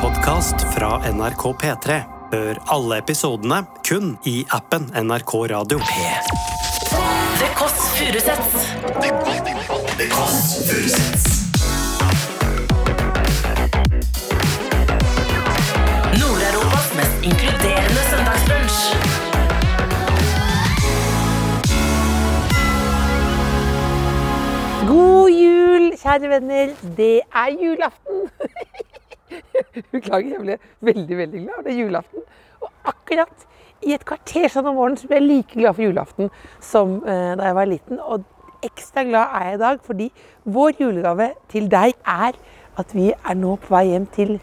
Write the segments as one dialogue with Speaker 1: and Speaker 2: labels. Speaker 1: podkast fra NRK P3. Hør alle episodene kun i appen NRK Radio.
Speaker 2: The Kåss Furuseths. Nord-Europas mest inkluderende søndagsbrunch.
Speaker 3: God jul, kjære venner. Det er julaften. Beklager, jeg ble veldig, veldig glad. Det er julaften. Og akkurat i et kvarter sånn om morgenen så ble jeg like glad for julaften som eh, da jeg var liten. Og ekstra glad er jeg i dag fordi vår julegave til deg er at vi er nå på vei hjem til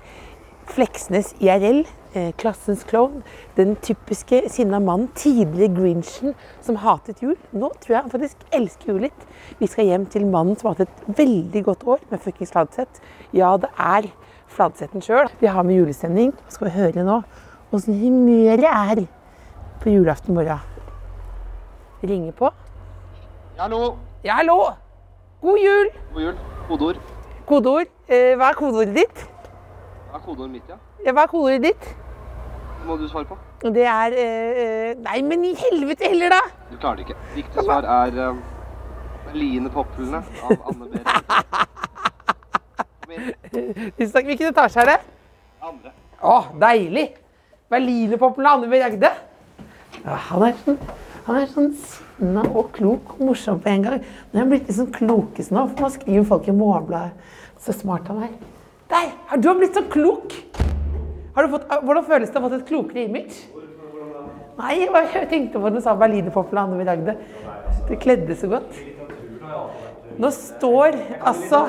Speaker 3: Fleksnes IRL, eh, klassens klovn, den typiske sinna mannen, tidligere Grinchen, som hatet jul. Nå tror jeg han faktisk elsker jul litt. Vi skal hjem til mannen som har hatt et veldig godt år med fuckings Fladseth. Ja, det er Fladsetten sjøl. Vi har med julestemning. Skal vi høre nå åssen humøret er på julaften morgen. Ringer på.
Speaker 4: Hallo.
Speaker 3: Ja, hallo! God jul!
Speaker 4: God jul. Kodeord.
Speaker 3: Kodeord. Eh, hva er kodeordet ditt?
Speaker 4: Hva er kodeordet mitt, ja?
Speaker 3: Ja, Hva er kodeordet ditt?
Speaker 4: Det må du svare på.
Speaker 3: Og Det er eh, Nei, men i helvete heller, da!
Speaker 4: Du klarer det ikke. Riktig svar er eh, Line Poplene av Anne Berit. Kom igjen.
Speaker 3: Tusen takk. Hvilken etasje er det?
Speaker 4: Andre.
Speaker 3: Å, deilig! Berlinerpoppen av Anne B. Ragde. Ja, han er sånn, han er sånn sinna og klok og morsom på en gang. Men han er blitt litt sånn klokes nå, for nå skriver folk i Morgenbladet. Så smart han er. Der! Har du blitt så klok? Har du fått, hvordan føles det å ha fått et klokere image? Nei, jeg bare tenkte på den samme berlinerpoppen av Anne B. Ragde. Det kledde så godt. Nå står altså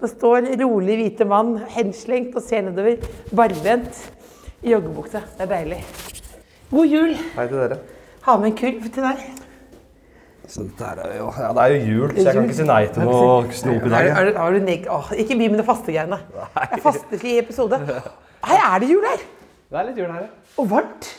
Speaker 3: Nå står rolig hvite mann henslengt og ser nedover, barbent, i joggebukse. Det er deilig. God jul!
Speaker 5: Hei til dere.
Speaker 3: Ha med en kurv til deg.
Speaker 5: Så det, er jo, ja, det er jo jul, så jeg kan ikke si nei til noe snop
Speaker 3: Er,
Speaker 5: i dag. jeg.
Speaker 3: er, er du neg Åh, ikke begynn med det faste greiene. Det er fastefri episode. Her er det jul her!
Speaker 5: Det er litt jul her, ja.
Speaker 3: Og varmt.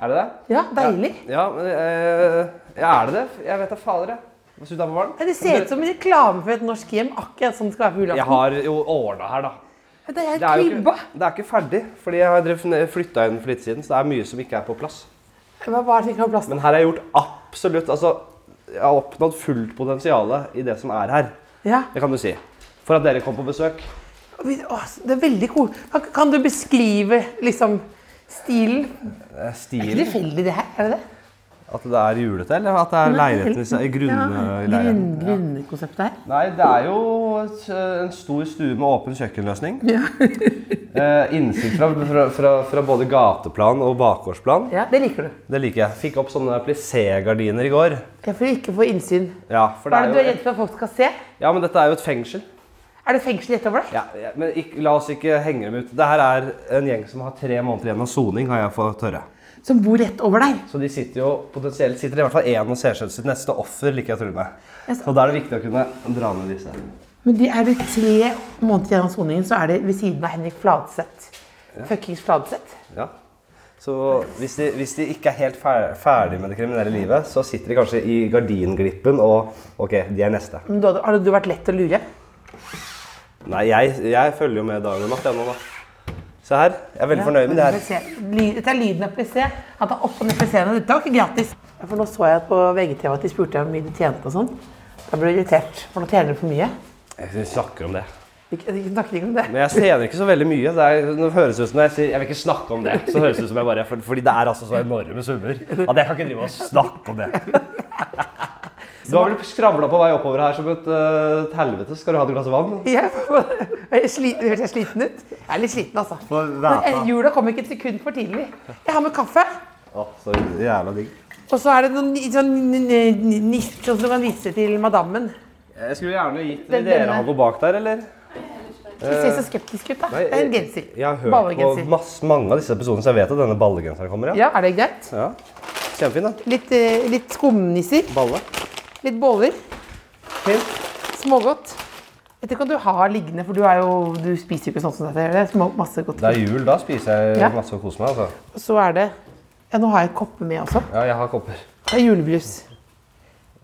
Speaker 5: Er det det?
Speaker 3: Ja, deilig.
Speaker 5: Ja, men eh, ja, er det det? Jeg vet da fader, jeg. Hva synes du det er for varmt?
Speaker 3: Ja, Det ser ut som en reklame for et norsk hjem. Akkurat sånn det skal være på
Speaker 5: Jeg
Speaker 3: julaften.
Speaker 5: har jo ordna her, da.
Speaker 3: Det er
Speaker 5: Det er jo
Speaker 3: krybba.
Speaker 5: ikke, det er ikke ferdig, fordi jeg har flytta inn for litt siden, så det er mye som ikke er på plass.
Speaker 3: Hva hva er det som ikke har plass?
Speaker 5: Men her har jeg gjort absolutt Altså, jeg har oppnådd fullt potensial i det som er her.
Speaker 3: Ja.
Speaker 5: Det kan du si. For at dere kom på besøk.
Speaker 3: Åh, det er veldig koselig. Kan- Kan du beskrive liksom stilen?
Speaker 5: Eh, Stilen.
Speaker 3: Tilfeldig det her, er det det?
Speaker 5: At det er julete, eller at det er leiligheten i seg? Grunnleiren.
Speaker 3: Grunn, grunnkonseptet her.
Speaker 5: Nei, det er jo et, eh, en stor stue med åpen kjøkkenløsning. eh, innsikt fra, fra, fra, fra både gateplan og bakgårdsplan.
Speaker 3: Ja, Det liker du.
Speaker 5: Det liker jeg. Fikk opp sånne plissé-gardiner i går.
Speaker 3: Ja, For ikke å få innsyn.
Speaker 5: Ja, for
Speaker 3: Hva er det du
Speaker 5: det
Speaker 3: er
Speaker 5: er jo,
Speaker 3: redd for at folk skal se?
Speaker 5: ja, men dette er jo et fengsel.
Speaker 3: Er det fengsel rett over deg?
Speaker 5: Ja, ja, men ikk- la oss ikke henge dem ut. Det her er en gjeng som har tre måneder igjen av soning, har jeg fått høre.
Speaker 3: Som bor rett over deg?
Speaker 5: Så de sitter jo potensielt sitter i hvert fall én og ser seg ut sitt neste offer, liker jeg å tro meg. Så da er det viktig å kunne dra ned disse.
Speaker 3: Men de er det tre måneder igjen av soningen, så er det ved siden av Henrik Fladseth. Fuckings Fladseth.
Speaker 5: Ja. Så hvis de, hvis de ikke er helt fer- ferdig med det kriminelle livet, så sitter de kanskje i gardinglippen og Ok, de er neste.
Speaker 3: Men du hadde, hadde du vært lett å lure?
Speaker 5: Nei, jeg, jeg følger jo med dagen og natt, jeg nå, da. Se her. Jeg er veldig fornøyd med det her.
Speaker 3: Ly- Dette er lyden av PC. Han tar opp og ned PC-ene. Dette var ikke gratis. Ja, For nå så jeg på VGTV at de spurte hvor mye du tjente og sånn. Da ble jeg irritert, for nå tjener du for mye.
Speaker 5: Jeg snakker om det.
Speaker 3: Vi vi snakker ikke om det.
Speaker 5: Men jeg tjener ikke så veldig mye. Det, er, det høres ut som når jeg sier jeg vil ikke snakke om Sånn det, så høres det ut som jeg bare for, Fordi det er altså så enorme summer at jeg kan ikke drive og snakke om det. Du har vel skravla på vei oppover her som et eh, helvete. Skal du ha et glass vann?
Speaker 3: Jeg jeg sli- Hørtes jeg sliten ut? Jeg er litt sliten, altså. Men jula kom ikke et sekund for tidlig. Jeg har med kaffe.
Speaker 5: Å, så jævla digg.
Speaker 3: Og så er det noen ni- sånn n- n- nift sånn som du kan vise til madammen.
Speaker 5: Jeg skulle gjerne gitt
Speaker 3: Den-
Speaker 5: dere
Speaker 3: denne.
Speaker 5: han går bak der, eller?
Speaker 3: Du ser så skeptisk ut, da. Det er en genser.
Speaker 5: Jeg har hørt på
Speaker 3: Ballegenser.
Speaker 5: masse, mange av disse episodene, så jeg vet at denne ballegenseren kommer. Ja.
Speaker 3: Ja, er det greit?
Speaker 5: ja. Kjempefin, da.
Speaker 3: Litt, eh, litt skumnisser.
Speaker 5: Balle.
Speaker 3: Litt boller.
Speaker 5: Fint.
Speaker 3: Smågodt. Dette kan du ha liggende, for du, er jo, du spiser jo ikke sånn som dette. gjør Det Små, masse godt.
Speaker 5: Det er jul, da spiser jeg
Speaker 3: Ja.
Speaker 5: masse og koser meg. altså.
Speaker 3: Så er det Ja, nå har jeg kopper med også.
Speaker 5: Ja, jeg har kopper.
Speaker 3: Det er julebrus.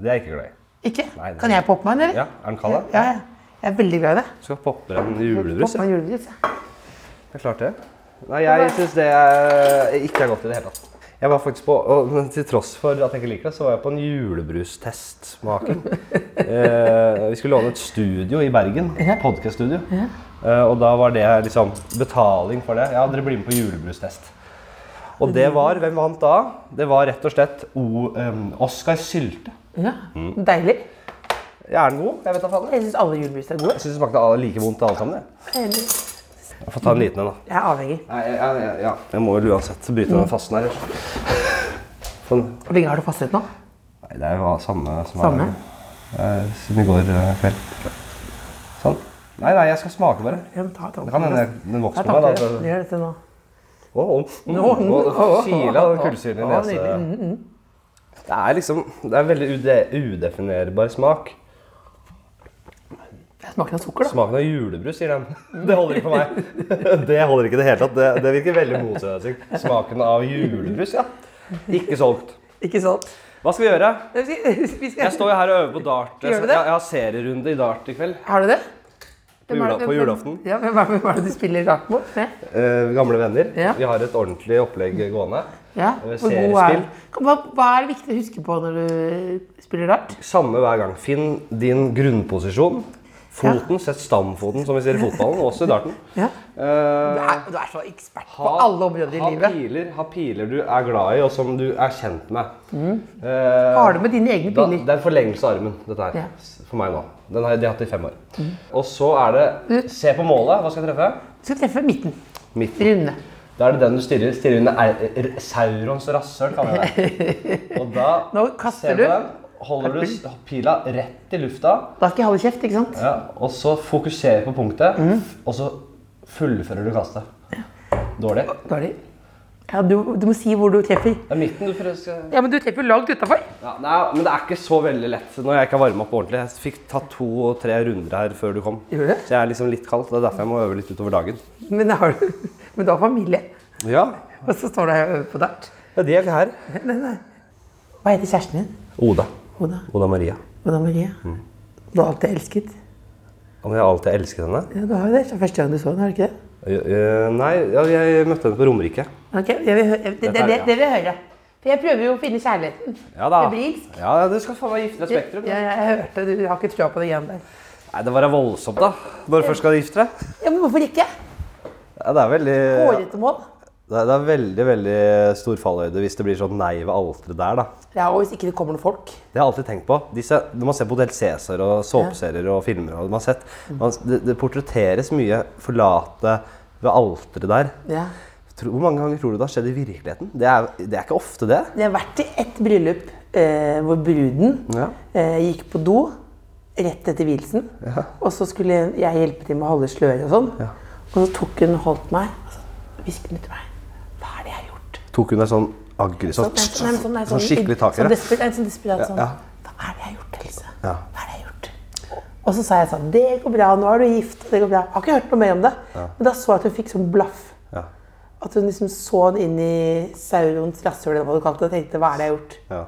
Speaker 5: Det er jeg ikke glad i.
Speaker 3: Ikke?
Speaker 5: Nei, det-
Speaker 3: Kan jeg poppe meg en, eller?
Speaker 5: Ja, Er den kald, da?
Speaker 3: Ja, ja. Jeg er veldig glad i det.
Speaker 5: Skal poppe en julebrus.
Speaker 3: Poppe
Speaker 5: Ja.
Speaker 3: meg en julebrus, ja.
Speaker 5: Det er klart det.
Speaker 6: Nei, jeg syns det er ikke er godt i det hele tatt. Jeg var faktisk på, og Til tross for at jeg ikke liker det, så var jeg på en julebrustest med Aken. Eh, vi skulle låne et studio i Bergen. Podcast-studio. Eh, og da var det liksom betaling for det. Ja, dere blir med på julebrustest. Og det var Hvem vant da? Det var rett og slett o, em, Oskar Sylte.
Speaker 3: Ja, Deilig.
Speaker 6: Er den god? Jeg vet da faen. jeg.
Speaker 3: Jeg syns alle julebrus er gode.
Speaker 6: Jeg syns det smakte alle- like vondt alle sammen. jeg.
Speaker 3: Jeg er enig.
Speaker 6: Jeg får ta en liten en, da.
Speaker 3: Jeg er avhengig.
Speaker 6: Nei, jeg, jeg, jeg, ja. jeg må vel uansett bryte den fasten her. Sånn.
Speaker 3: Hvor lenge har du fastet nå?
Speaker 6: Nei, det er jo samme som
Speaker 3: Samme?
Speaker 6: er, eh, siden i går eh, kveld. Sånn. Nei, nei, jeg skal smake bare.
Speaker 3: Ja, men ta, ta,
Speaker 6: Det kan hende den
Speaker 3: Ta
Speaker 6: vokser
Speaker 3: tanker.
Speaker 6: på meg. da. at-
Speaker 3: Gjør dette nå.
Speaker 6: Å, å, mm, å, å, Kile av kullsyren i nese. Det er liksom Det er veldig ude, udefinerbar smak.
Speaker 3: Smaken av sukker, da.
Speaker 6: Smaken av julebrus, sier de. Det holder ikke for meg. Det holder ikke i det hele tatt. Det, det virker veldig motsetningsfylt. Smaken av julebrus, ja. Ikke solgt.
Speaker 3: Ikke sant?
Speaker 6: Hva skal vi gjøre?
Speaker 3: Vi skal, vi skal,
Speaker 6: Jeg står jo her og øver på dart. Jeg,
Speaker 3: Gjør du det?
Speaker 6: jeg har serierunde i dart i kveld.
Speaker 3: Har du det?
Speaker 6: På,
Speaker 3: Hvem er
Speaker 6: jula,
Speaker 3: det-
Speaker 6: på
Speaker 3: hvem-
Speaker 6: julaften.
Speaker 3: Ja, hvem er, hvem er det du spiller rart mot? Se.
Speaker 6: Eh, gamle venner.
Speaker 3: Ja.
Speaker 6: Vi har et ordentlig opplegg gående.
Speaker 3: Ja.
Speaker 6: Eh,
Speaker 3: Hvor god er
Speaker 6: seriespill.
Speaker 3: du? hva, hva er det viktig å huske på når du spiller rart?
Speaker 6: Samme hver gang. Finn din grunnposisjon. Foten. Sett stamfoten, som vi sier i fotballen. Også i darten.
Speaker 3: Ja.
Speaker 6: Eh,
Speaker 3: Du er, du er så ekspert på
Speaker 6: ha-
Speaker 3: alle områder i
Speaker 6: ha
Speaker 3: livet.
Speaker 6: Piler, ha piler du er glad i, og som du er kjent med. Eh,
Speaker 3: Har du med dine egne
Speaker 6: da,
Speaker 3: piller?
Speaker 6: det er en forlengelse av armen, dette her.
Speaker 3: Ja. Mm.
Speaker 6: For meg nå. Den har jeg de har hatt i fem år. Og så er det Se på målet. Hva skal jeg treffe?
Speaker 3: Du skal treffe midten.
Speaker 6: Midten.
Speaker 3: Runde.
Speaker 6: Da er det den du stirrer, stirrer under er- r- Saurons rasshøl, kaller jeg det. Og da
Speaker 3: Nå kaster
Speaker 6: ser
Speaker 3: du.
Speaker 6: den, holder du s- pila rett i lufta,
Speaker 3: Da skal jeg holde kjeft, ikke sant?
Speaker 6: ja, og så fokuserer du på punktet,
Speaker 3: Mm.
Speaker 6: og så fullfører du kastet. Dårlig.
Speaker 3: Dårlig. Ja, du, du må si hvor du treffer.
Speaker 6: Det er midten du prøver skal...
Speaker 3: Ja, men du treffer langt utafor.
Speaker 6: ja, Nei, men det er ikke så veldig lett når jeg ikke har varma opp ordentlig. Jeg fikk tatt to-tre runder her før du kom,
Speaker 3: Gjorde du det?
Speaker 6: så jeg er liksom litt kald. Det er derfor jeg må øve litt utover dagen.
Speaker 3: Men, har du- men du har familie,
Speaker 6: Ja,
Speaker 3: og så står du her og øver på dart.
Speaker 6: ja de er ikke her.
Speaker 3: Hva heter kjæresten din?
Speaker 6: Oda.
Speaker 3: Oda.
Speaker 6: Oda Maria.
Speaker 3: Oda Marie.
Speaker 6: Mm.
Speaker 3: Du har alltid elsket.
Speaker 6: Om jeg alltid har elsket henne?
Speaker 3: Ja, du har jo det. Det er første gang du så den, har du ikke det?
Speaker 6: Eh, Nei, ja, jeg møtte henne på Romerike.
Speaker 3: Ok, jeg vil, hø- jeg, det, det,
Speaker 6: Dette er-
Speaker 3: det, det vil jeg høre. For jeg prøver jo å finne kjærligheten.
Speaker 6: Ja da.
Speaker 3: Febrilsk.
Speaker 6: Ja, du skal faen meg gifte deg i Spektrum.
Speaker 3: Ja, jeg, jeg hørte, du har ikke trua på det igjen der.
Speaker 6: Nei, det var da voldsomt, da. Når du først skal gifte deg.
Speaker 3: Ja, men hvorfor ikke?
Speaker 6: Ja, det er veldig
Speaker 3: Hårete mål.
Speaker 6: det er, det er veldig, veldig stor fallhøyde hvis det blir sånn nei ved alteret der, da.
Speaker 3: Ja, og hvis ikke det kommer noen folk.
Speaker 6: Det har jeg alltid tenkt på. Disse, når man ser på Hotell Cæsar og såpeserier og filmer og man har sett, man, det, det portretteres mye forlate ved alteret der.
Speaker 3: Ja.
Speaker 6: Tro, hvor mange ganger tror du det har skjedd i virkeligheten? Det er, det er ikke ofte, det.
Speaker 3: Jeg har vært i ett bryllup eh, hvor bruden
Speaker 6: Ja.
Speaker 3: eh, gikk på do rett etter vielsen. Og så skulle jeg hjelpe til med å holde sløret og sånn. Og så tok hun og holdt meg, og så hvisket hun til meg. Hva er det jeg har gjort?
Speaker 6: Tok hun deg sånn aggri sånn,
Speaker 3: Nei, sånn, nei, sånn, nei,
Speaker 6: sånn skikkelig tak i
Speaker 3: sånn
Speaker 6: det?
Speaker 3: desper- nei, sånn desperat sånn.
Speaker 6: Ja, ja.
Speaker 3: Hva er det jeg har gjort, Else? Hva
Speaker 6: Ja.
Speaker 3: er det jeg har gjort? Og så sa jeg sånn Det går bra, nå er du gift. og Det går bra. Jeg har ikke hørt noe mer om det. Men da så jeg at hun fikk sånn blaff.
Speaker 6: Ja.
Speaker 3: At hun liksom så den inn i Saurons rasshøl, eller hva du kalte det, og tenkte Hva er det jeg har gjort?
Speaker 6: Ja.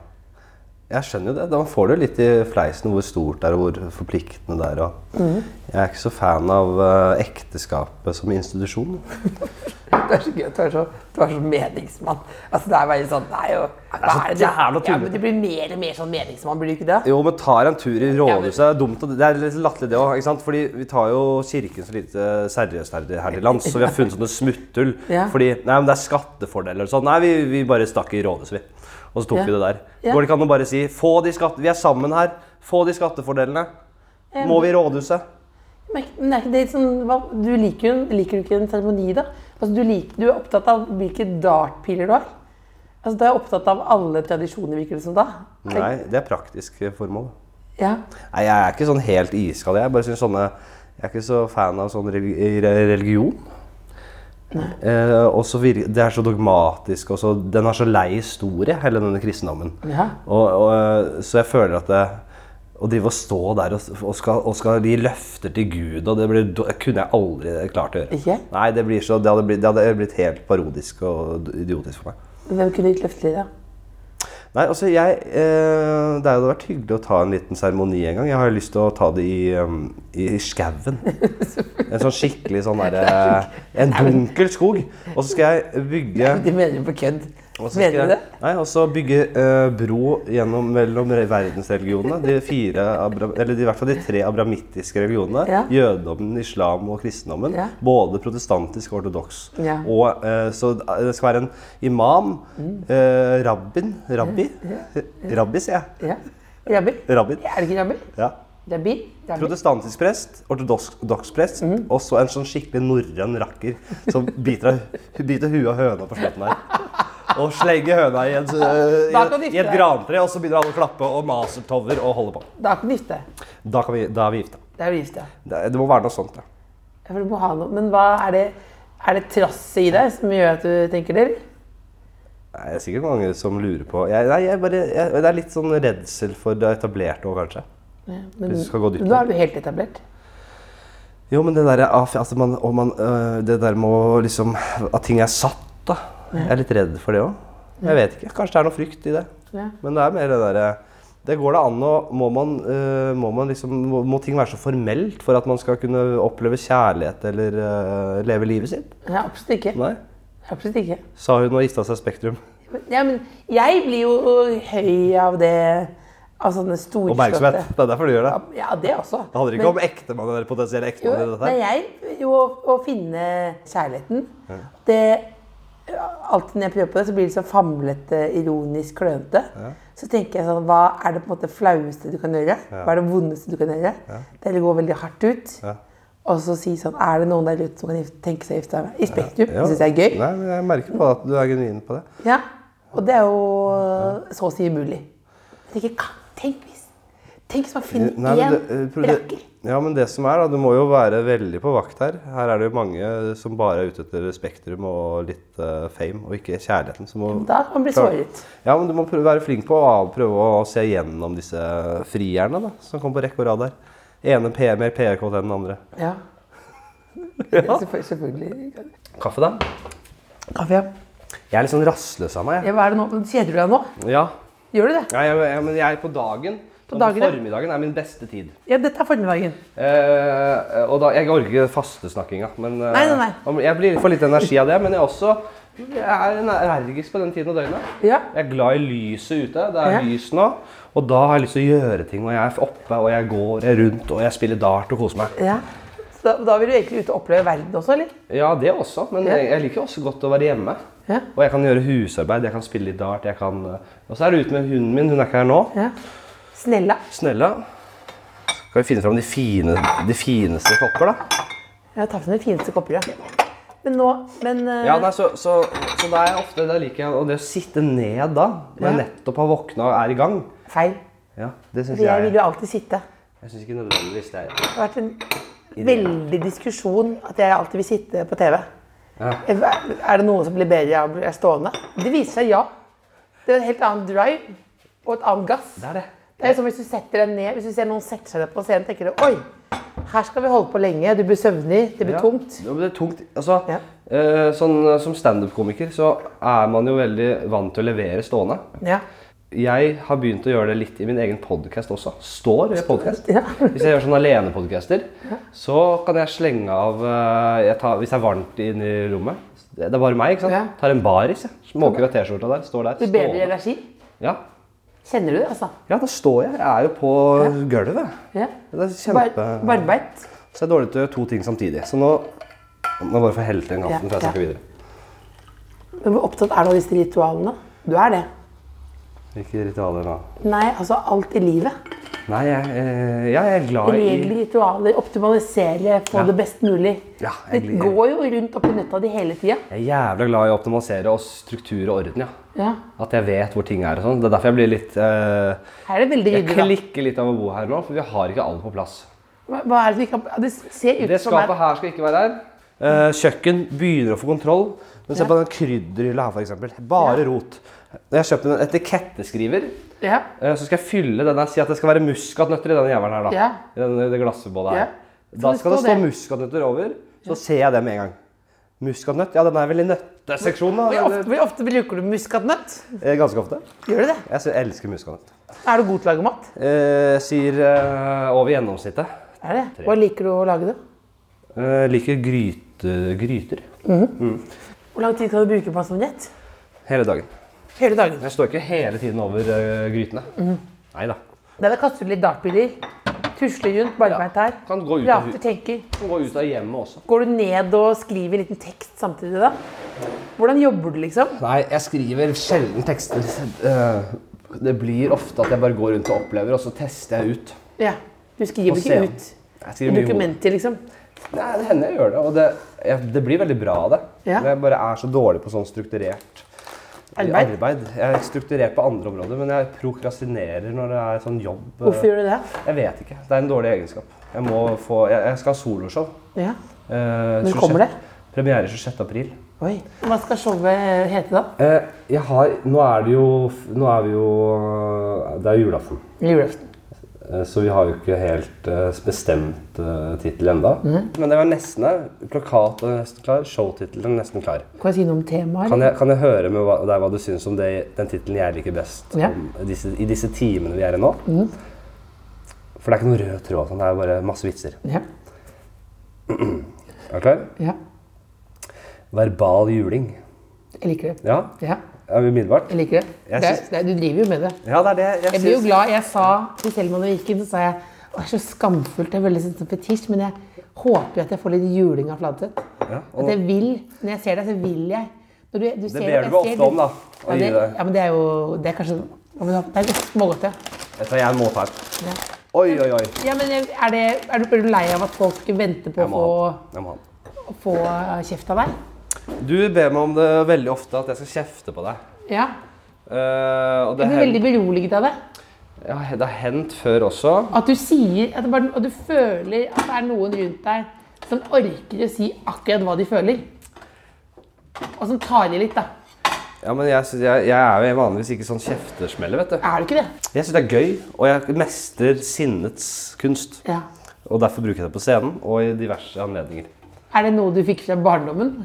Speaker 6: Jeg skjønner jo det. Da får du litt i fleisen hvor stort det er, og hvor forpliktende det er. Og.
Speaker 3: Mm.
Speaker 6: Jeg er ikke så fan av eh, ekteskapet som institusjon.
Speaker 3: Det er så gøy. Du er så, du er så meningsmann. Altså, det er bare sånn Det er jo hva
Speaker 6: så
Speaker 3: er det-
Speaker 6: altså, jævla tullete.
Speaker 3: Ja, men du blir mer og mer sånn meningsmann, blir du ikke det?
Speaker 6: Jo, men tar en tur i rådhuset. Det er dumt, og det er litt latterlig det òg. Fordi vi tar jo kirken så lite seriøst her, her til lands, så vi har funnet sånne smutthull.
Speaker 3: Ja.
Speaker 6: Fordi nei, men det er skattefordeler og sånn. Nei, vi, vi bare stakk i rådhuset, vi. Og så tok
Speaker 3: Ja.
Speaker 6: vi det der.
Speaker 3: Ja.
Speaker 6: Går det ikke an å bare si få de skatte... Vi er sammen her. Få de skattefordelene. Må vi i rådhuset?
Speaker 3: Men men er ikke det sånn, hva, du liker, jo en- liker du ikke en seremoni, da? Altså, du, lik- du er opptatt av hvilke dartpiler du har. Altså, du er opptatt av alle tradisjoner, virker det som da.
Speaker 6: Nei, det er praktisk eh, formål.
Speaker 3: Ja.
Speaker 6: Nei, jeg er ikke sånn helt iskald. Jeg bare synes sånne Jeg er ikke så fan av sånn religi- re- religion. Eh, og så vir- det er så dogmatisk. Og så, den har så lei historie, hele denne kristendommen.
Speaker 3: Ja.
Speaker 6: Og, og, eh, så jeg føler at det, å drive og stå der og, s- og, skal, og skal gi løfter til Gud og det, blir, det kunne jeg aldri klart å gjøre.
Speaker 3: Ikke?
Speaker 6: Nei, det, blir så, det, hadde blitt, det hadde blitt helt parodisk og idiotisk for meg.
Speaker 3: Hvem kunne gitt løfter til deg?
Speaker 6: Nei, altså jeg eh, Det hadde vært hyggelig å ta en liten seremoni en gang. Jeg har jo lyst til å ta det i, um, i i skauen. En sånn skikkelig sånn derre En dunkel skog. Og så skal jeg bygge
Speaker 3: Det mener du på kødd.
Speaker 6: og så
Speaker 3: Mener
Speaker 6: skal
Speaker 3: du
Speaker 6: jeg,
Speaker 3: det?
Speaker 6: nei, og så bygge eh, bro gjennom, mellom re- verdensreligionene. De fire, abra- eller i hvert fall de tre abramittiske religionene.
Speaker 3: Ja.
Speaker 6: Jødedommen, islam og kristendommen.
Speaker 3: Ja.
Speaker 6: Både protestantisk og ortodoks.
Speaker 3: Ja.
Speaker 6: Og eh, Så det skal være en imam, eh, rabbin Rabbi? Rabbi, sier jeg.
Speaker 3: Mm. Ja. Rabbi?
Speaker 6: Rabbin.
Speaker 3: Er det ikke rabbi?
Speaker 6: Ja.
Speaker 3: Rabbi? rabbi.
Speaker 6: Protestantisk prest, ortodoks prest,
Speaker 3: Mhm.
Speaker 6: og så en sånn skikkelig norrøn rakker som biter, av- biter huet av høna på slutten her. Og slenger høna i, en, øh,
Speaker 3: Da kan du
Speaker 6: i,
Speaker 3: gifte
Speaker 6: i et
Speaker 3: deg.
Speaker 6: grantre, og så begynner alle å klappe og mase tover og holde på.
Speaker 3: Da kan du gifte deg.
Speaker 6: Da, kan vi, da er vi gifta.
Speaker 3: Det er jo gift, ja.
Speaker 6: Det, det må være noe sånt, ja.
Speaker 3: Ja, for du må ha noe. Men hva er det Er det trasset i deg som gjør at du tenker det? eller?
Speaker 6: Nei, Det er sikkert mange som lurer på jeg, nei, jeg bare, jeg, Det er litt sånn redsel for det etablerte òg, kanskje.
Speaker 3: Men,
Speaker 6: Hvis du skal gå dypt
Speaker 3: men
Speaker 6: ned.
Speaker 3: da er du helt etablert.
Speaker 6: Jo, men det der, af- altså man, og man, øh, det der med å liksom At ting er satt, da. Jeg er litt redd for det òg. Jeg vet ikke. Kanskje det er noe frykt i det.
Speaker 3: Ja.
Speaker 6: Men det er mer det derre Det går det an å Må man, øh, må man liksom må, må ting være så formelt for at man skal kunne oppleve kjærlighet eller øh, leve livet sitt?
Speaker 3: Nei, absolutt ikke.
Speaker 6: Nei.
Speaker 3: Absolutt ikke.
Speaker 6: Sa hun og gifta seg Spektrum.
Speaker 3: Ja, men jeg blir jo høy av det Av sånne store
Speaker 6: Oppmerksomhet. Det er derfor du gjør det.
Speaker 3: Ja, det også.
Speaker 6: Det handler
Speaker 3: Men-
Speaker 6: ikke om ektemann eller potensiell
Speaker 3: Jo,
Speaker 6: ektemann. eller dette
Speaker 3: nei,
Speaker 6: her.
Speaker 3: jeg jo å, å finne kjærligheten. Det, alltid når jeg prøver på det, så blir det så famlete, ironisk, klønete. Så tenker jeg sånn, hva er det på en måte flaueste du kan gjøre? Hva er det vondeste du kan gjøre? Det er å gå veldig hardt ut.
Speaker 6: Ja.
Speaker 3: Og så si sånn, er det noen der ute som kan gifte- tenke seg å gifte seg med? I Spektrum,
Speaker 6: Ja.
Speaker 3: det synes jeg er gøy.
Speaker 6: Nei, men jeg merker på at du er genuin på det.
Speaker 3: Ja, og det er jo så å si umulig. Jeg tenker, kan, tenk hvis, tenk hvis man finner
Speaker 6: Nei, men det- eh,
Speaker 3: én
Speaker 6: pro- det-
Speaker 3: rakker.
Speaker 6: Ja, men det som er da, Du må jo være veldig på vakt her. Her er det jo mange som bare er ute etter Spektrum og litt eh, fame, og ikke kjærligheten. Så må,
Speaker 3: Da kan man bli
Speaker 6: Klart.
Speaker 3: såret.
Speaker 6: Ja, men du må prøve, være flink på å av- prøve å se gjennom disse frierne da, som kommer på rekke og rad her. Ene P mer PR-kåt enn den andre.
Speaker 3: Ja. Selvfø- Selvfølgelig.
Speaker 6: Kaffe, da?
Speaker 3: Kaffe, ja.
Speaker 6: Jeg er litt sånn rastløs av meg.
Speaker 3: Ja, hva er det nå? Kjeder du deg nå?
Speaker 6: jeg. Ja.
Speaker 3: Gjør du det?
Speaker 6: Ja, jeg, jeg, men jeg er på dagen.
Speaker 3: På
Speaker 6: og
Speaker 3: dagen, ja.
Speaker 6: formiddagen er min beste tid.
Speaker 3: Ja, dette er formiddagen.
Speaker 6: Eh, og da, jeg orker ikke fastesnakkinga. Men eh,
Speaker 3: Nei, nei, nei.
Speaker 6: om- jeg blir for litt energi av det. Men jeg er også jeg er energisk på den tiden av døgnet.
Speaker 3: Ja.
Speaker 6: Jeg er glad i lyset ute. Det er
Speaker 3: Ja.
Speaker 6: lys nå. Og da har jeg lyst til å gjøre ting. Og jeg er oppe, og jeg går jeg er rundt, og jeg spiller dart og koser meg.
Speaker 3: Ja. Så da, da vil du egentlig ut og oppleve verden også, eller?
Speaker 6: Ja, det også. Men
Speaker 3: Ja.
Speaker 6: jeg, jeg liker også godt å være hjemme.
Speaker 3: Ja.
Speaker 6: Og jeg kan gjøre husarbeid, jeg kan spille litt dart. Jeg kan, eh, og så er det ute med hunden min. Hun er ikke her nå.
Speaker 3: Ja. Snella.
Speaker 6: Snella. Skal vi finne fram de, fine, de fineste kopper, da?
Speaker 3: Jeg har tatt med de fineste kopper, ja. Men nå, men eh,
Speaker 6: Ja, nei, så, så, så da er jeg ofte, da liker jeg og det å sitte ned da, når jeg
Speaker 3: Ja.
Speaker 6: nettopp har våkna og er i gang.
Speaker 3: feil.
Speaker 6: Ja, det syns
Speaker 3: For jeg
Speaker 6: jeg.
Speaker 3: vil jo alltid sitte.
Speaker 6: Jeg syns ikke nødvendigvis det er
Speaker 3: Det har vært en veldig diskusjon at jeg alltid vil sitte på TV.
Speaker 6: Ja.
Speaker 3: Er er det noen som blir bedre av å bli stående? Det viser seg ja. Det er en helt annen drive og et annet gass.
Speaker 6: Det er det.
Speaker 3: Det er som hvis du setter deg ned, hvis du ser noen sette seg ned på scenen, tenker du oi, her skal vi holde på lenge, du blir søvnig, det blir
Speaker 6: Ja.
Speaker 3: tungt.
Speaker 6: Ja, men det er tungt. Altså,
Speaker 3: Ja.
Speaker 6: eh, sånn, eh, som standup-komiker så er man jo veldig vant til å levere stående.
Speaker 3: Ja.
Speaker 6: Jeg har begynt å gjøre det litt i min egen podkast også. Står ved podkast.
Speaker 3: Ja.
Speaker 6: Hvis jeg gjør sånn alenepodkaster, så kan jeg slenge av eh, jeg tar, Hvis det er varmt inne i rommet. Det det er bare meg, ikke sant.
Speaker 3: Ja.
Speaker 6: Tar en baris, jeg. Småker av T-skjorta der. Står der.
Speaker 3: Du bedrer
Speaker 6: stående.
Speaker 3: energi.
Speaker 6: Ja.
Speaker 3: Kjenner du det, altså?
Speaker 6: Ja, da står jeg. Jeg er jo på gulvet.
Speaker 3: Ja.
Speaker 6: Det er kjempe...
Speaker 3: Bar- Barbeint.
Speaker 6: Så jeg er dårlig til å gjøre to ting samtidig. Så nå må jeg bare få helt den kanten,
Speaker 3: Ja,
Speaker 6: for jeg snakker
Speaker 3: ja.
Speaker 6: videre.
Speaker 3: Men Hvor opptatt er du av disse ritualene? Du er det.
Speaker 6: Hvilke ritualer da?
Speaker 3: Nei, altså alt i livet.
Speaker 6: Nei, jeg, eh, ja, jeg er glad i
Speaker 3: Regler, ritualer, optimalisere, få
Speaker 6: Ja.
Speaker 3: det best mulig.
Speaker 6: Ja,
Speaker 3: Du
Speaker 6: jeg liker-
Speaker 3: går jo rundt og på nøtta di hele tida.
Speaker 6: Jeg er jævla glad i å optimalisere og struktur og orden, ja.
Speaker 3: Ja.
Speaker 6: At jeg vet hvor ting er og sånn. Det er derfor jeg blir litt eh,
Speaker 3: Her er det veldig
Speaker 6: Jeg
Speaker 3: ryddig.
Speaker 6: klikker litt av å bo her nå, for vi har ikke alt på plass.
Speaker 3: da. Hva- Hva er det du ikke har Det ser ut
Speaker 6: Det
Speaker 3: som er
Speaker 6: skapet her skal ikke være her. Eh, kjøkken begynner å få kontroll. Men se på den krydderhylla her, f.eks. Bare rot. Jeg har kjøpt en etiketteskriver.
Speaker 3: Ja.
Speaker 6: Eh, Så skal jeg fylle denne, si at det skal være muskatnøtter i denne jævelen her. da.
Speaker 3: Ja.
Speaker 6: I denne, det glassbålet her.
Speaker 3: Ja. Så
Speaker 6: Da
Speaker 3: det
Speaker 6: skal det
Speaker 3: står
Speaker 6: stå
Speaker 3: det.
Speaker 6: muskatnøtter over, så ser jeg det med en gang.
Speaker 5: Muskatnøtt? Ja, den er vel i nøtteseksjonen,
Speaker 3: Hvor
Speaker 5: da.
Speaker 3: ofte,
Speaker 5: eller?
Speaker 3: hvor ofte bruker du muskatnøtt?
Speaker 5: Eh, Ganske ofte.
Speaker 3: Gjør du det?
Speaker 5: Jeg sy- elsker muskatnøtt.
Speaker 3: Er du god til å lage mat?
Speaker 5: Eh, sier eh, over gjennomsnittet.
Speaker 3: Er det? Hva liker du å lage, da?
Speaker 5: Eh, liker gryte, gryter
Speaker 3: Hvor lang tid kan du bruke på en sånn diett?
Speaker 5: hele dagen.
Speaker 3: Hele dagen.
Speaker 5: Jeg står ikke hele tiden over eh, grytene. Nei da.
Speaker 3: Det er å kaste ut litt dartpiler. Tusle rundt, barbeint her.
Speaker 5: Kan gå ut av
Speaker 3: Prater,
Speaker 5: hu-
Speaker 3: tenker.
Speaker 5: Kan gå ut av hjemmet også.
Speaker 3: Går du ned og skriver en liten tekst samtidig, da? Hvordan jobber du, liksom?
Speaker 5: Nei, jeg skriver sjelden tekster. Eh, det blir ofte at jeg bare går rundt og opplever, og så tester jeg ut.
Speaker 3: Ja. Du skriver
Speaker 5: På
Speaker 3: ikke
Speaker 5: scenen.
Speaker 3: ut
Speaker 5: Jeg
Speaker 3: i
Speaker 5: skriver mye i hodet.
Speaker 3: dokumenter, liksom.
Speaker 5: Nei, det hender jeg gjør det, og det, jeg, det blir veldig bra av det.
Speaker 3: Ja.
Speaker 5: Men Jeg bare er så dårlig på sånn strukturert
Speaker 3: Arbeid.
Speaker 5: arbeid. Jeg er strukturert på andre områder, men jeg prokrastinerer når det er sånn jobb. eh,
Speaker 3: Hvorfor gjør du det?
Speaker 5: Jeg vet ikke. Det er en dårlig egenskap. Jeg, må få, jeg, jeg skal ha soloshow.
Speaker 3: Ja.
Speaker 5: eh,
Speaker 3: Når kommer
Speaker 5: 26
Speaker 3: det?
Speaker 5: Premiere 26. april.
Speaker 3: Oi. Hva skal showet hete, da?
Speaker 5: Eh, jeg har, nå er det jo Nå er vi jo eh, Det er jo julaften.
Speaker 3: Julaften.
Speaker 5: Eh, Så vi har jo ikke helt eh, bestemt uh, tittel enda. Men det var nesten der. Plakaten er nesten klar, showtittelen er nesten klar.
Speaker 3: Kan jeg si noe om temaet?
Speaker 5: Kan jeg, kan jeg høre med hva, deg hva du syns om det, den tittelen jeg liker best
Speaker 3: Ja.
Speaker 5: om disse, i disse timene vi er i nå? For det er ikke noe rød tråd. Sånn. Det er jo bare masse vitser.
Speaker 3: Ja.
Speaker 5: Er du klar?
Speaker 3: ja.
Speaker 5: Verbal juling.
Speaker 3: Jeg liker det.
Speaker 5: Ja,
Speaker 3: Ja,
Speaker 5: er vi umiddelbart?
Speaker 3: jeg liker det.
Speaker 5: Jeg
Speaker 3: det, er-
Speaker 5: syns-
Speaker 3: det er- du driver jo med det.
Speaker 5: Ja, det er det jeg
Speaker 3: Jeg blir jo
Speaker 5: syns.
Speaker 3: glad. Jeg sa til Selma når vi gikk inn, så sa jeg «Å, det er så skamfullt. Det er veldig sånn fetisj, men jeg håper jo at jeg får litt juling av Fladseth.
Speaker 5: og-
Speaker 3: At jeg vil. Når jeg ser deg, så vil jeg. Når du, du ser
Speaker 5: ber
Speaker 3: at jeg
Speaker 5: du meg
Speaker 3: ser
Speaker 5: ofte om, da, å
Speaker 3: Ja,
Speaker 5: gi
Speaker 3: det,
Speaker 5: deg.
Speaker 3: ja, men det er jo Det er kanskje ja, men Det er godt smågodt, ja.
Speaker 5: Jeg tar jeg en måte her.
Speaker 3: ja.
Speaker 5: Oi, oi, oi.
Speaker 3: ja men er, det, er, du, er du lei av at folk venter på
Speaker 5: Jeg
Speaker 3: å
Speaker 5: må
Speaker 3: få,
Speaker 5: ha den. Jeg må ha den.
Speaker 3: å få eh, kjeft av deg?
Speaker 5: Du ber meg om det veldig ofte at jeg skal kjefte på deg.
Speaker 3: Ja.
Speaker 5: Eh, og det,
Speaker 3: Jeg blir
Speaker 5: hen-
Speaker 3: veldig beroliget av det.
Speaker 5: ja, det har hendt før også.
Speaker 3: At du sier at det bare, Og du føler at det er noen rundt deg som orker å si akkurat hva de føler. Og som tar i litt, da.
Speaker 5: Ja, men jeg, synes, jeg, jeg er jo vanligvis ikke sånn kjeftesmeller, vet du.
Speaker 3: Er du ikke det?
Speaker 5: Jeg syns det er gøy, og jeg mestrer sinnets kunst.
Speaker 3: Ja.
Speaker 5: Og derfor bruker jeg det på scenen og i diverse anledninger.
Speaker 3: Er det noe du fikk fra barndommen?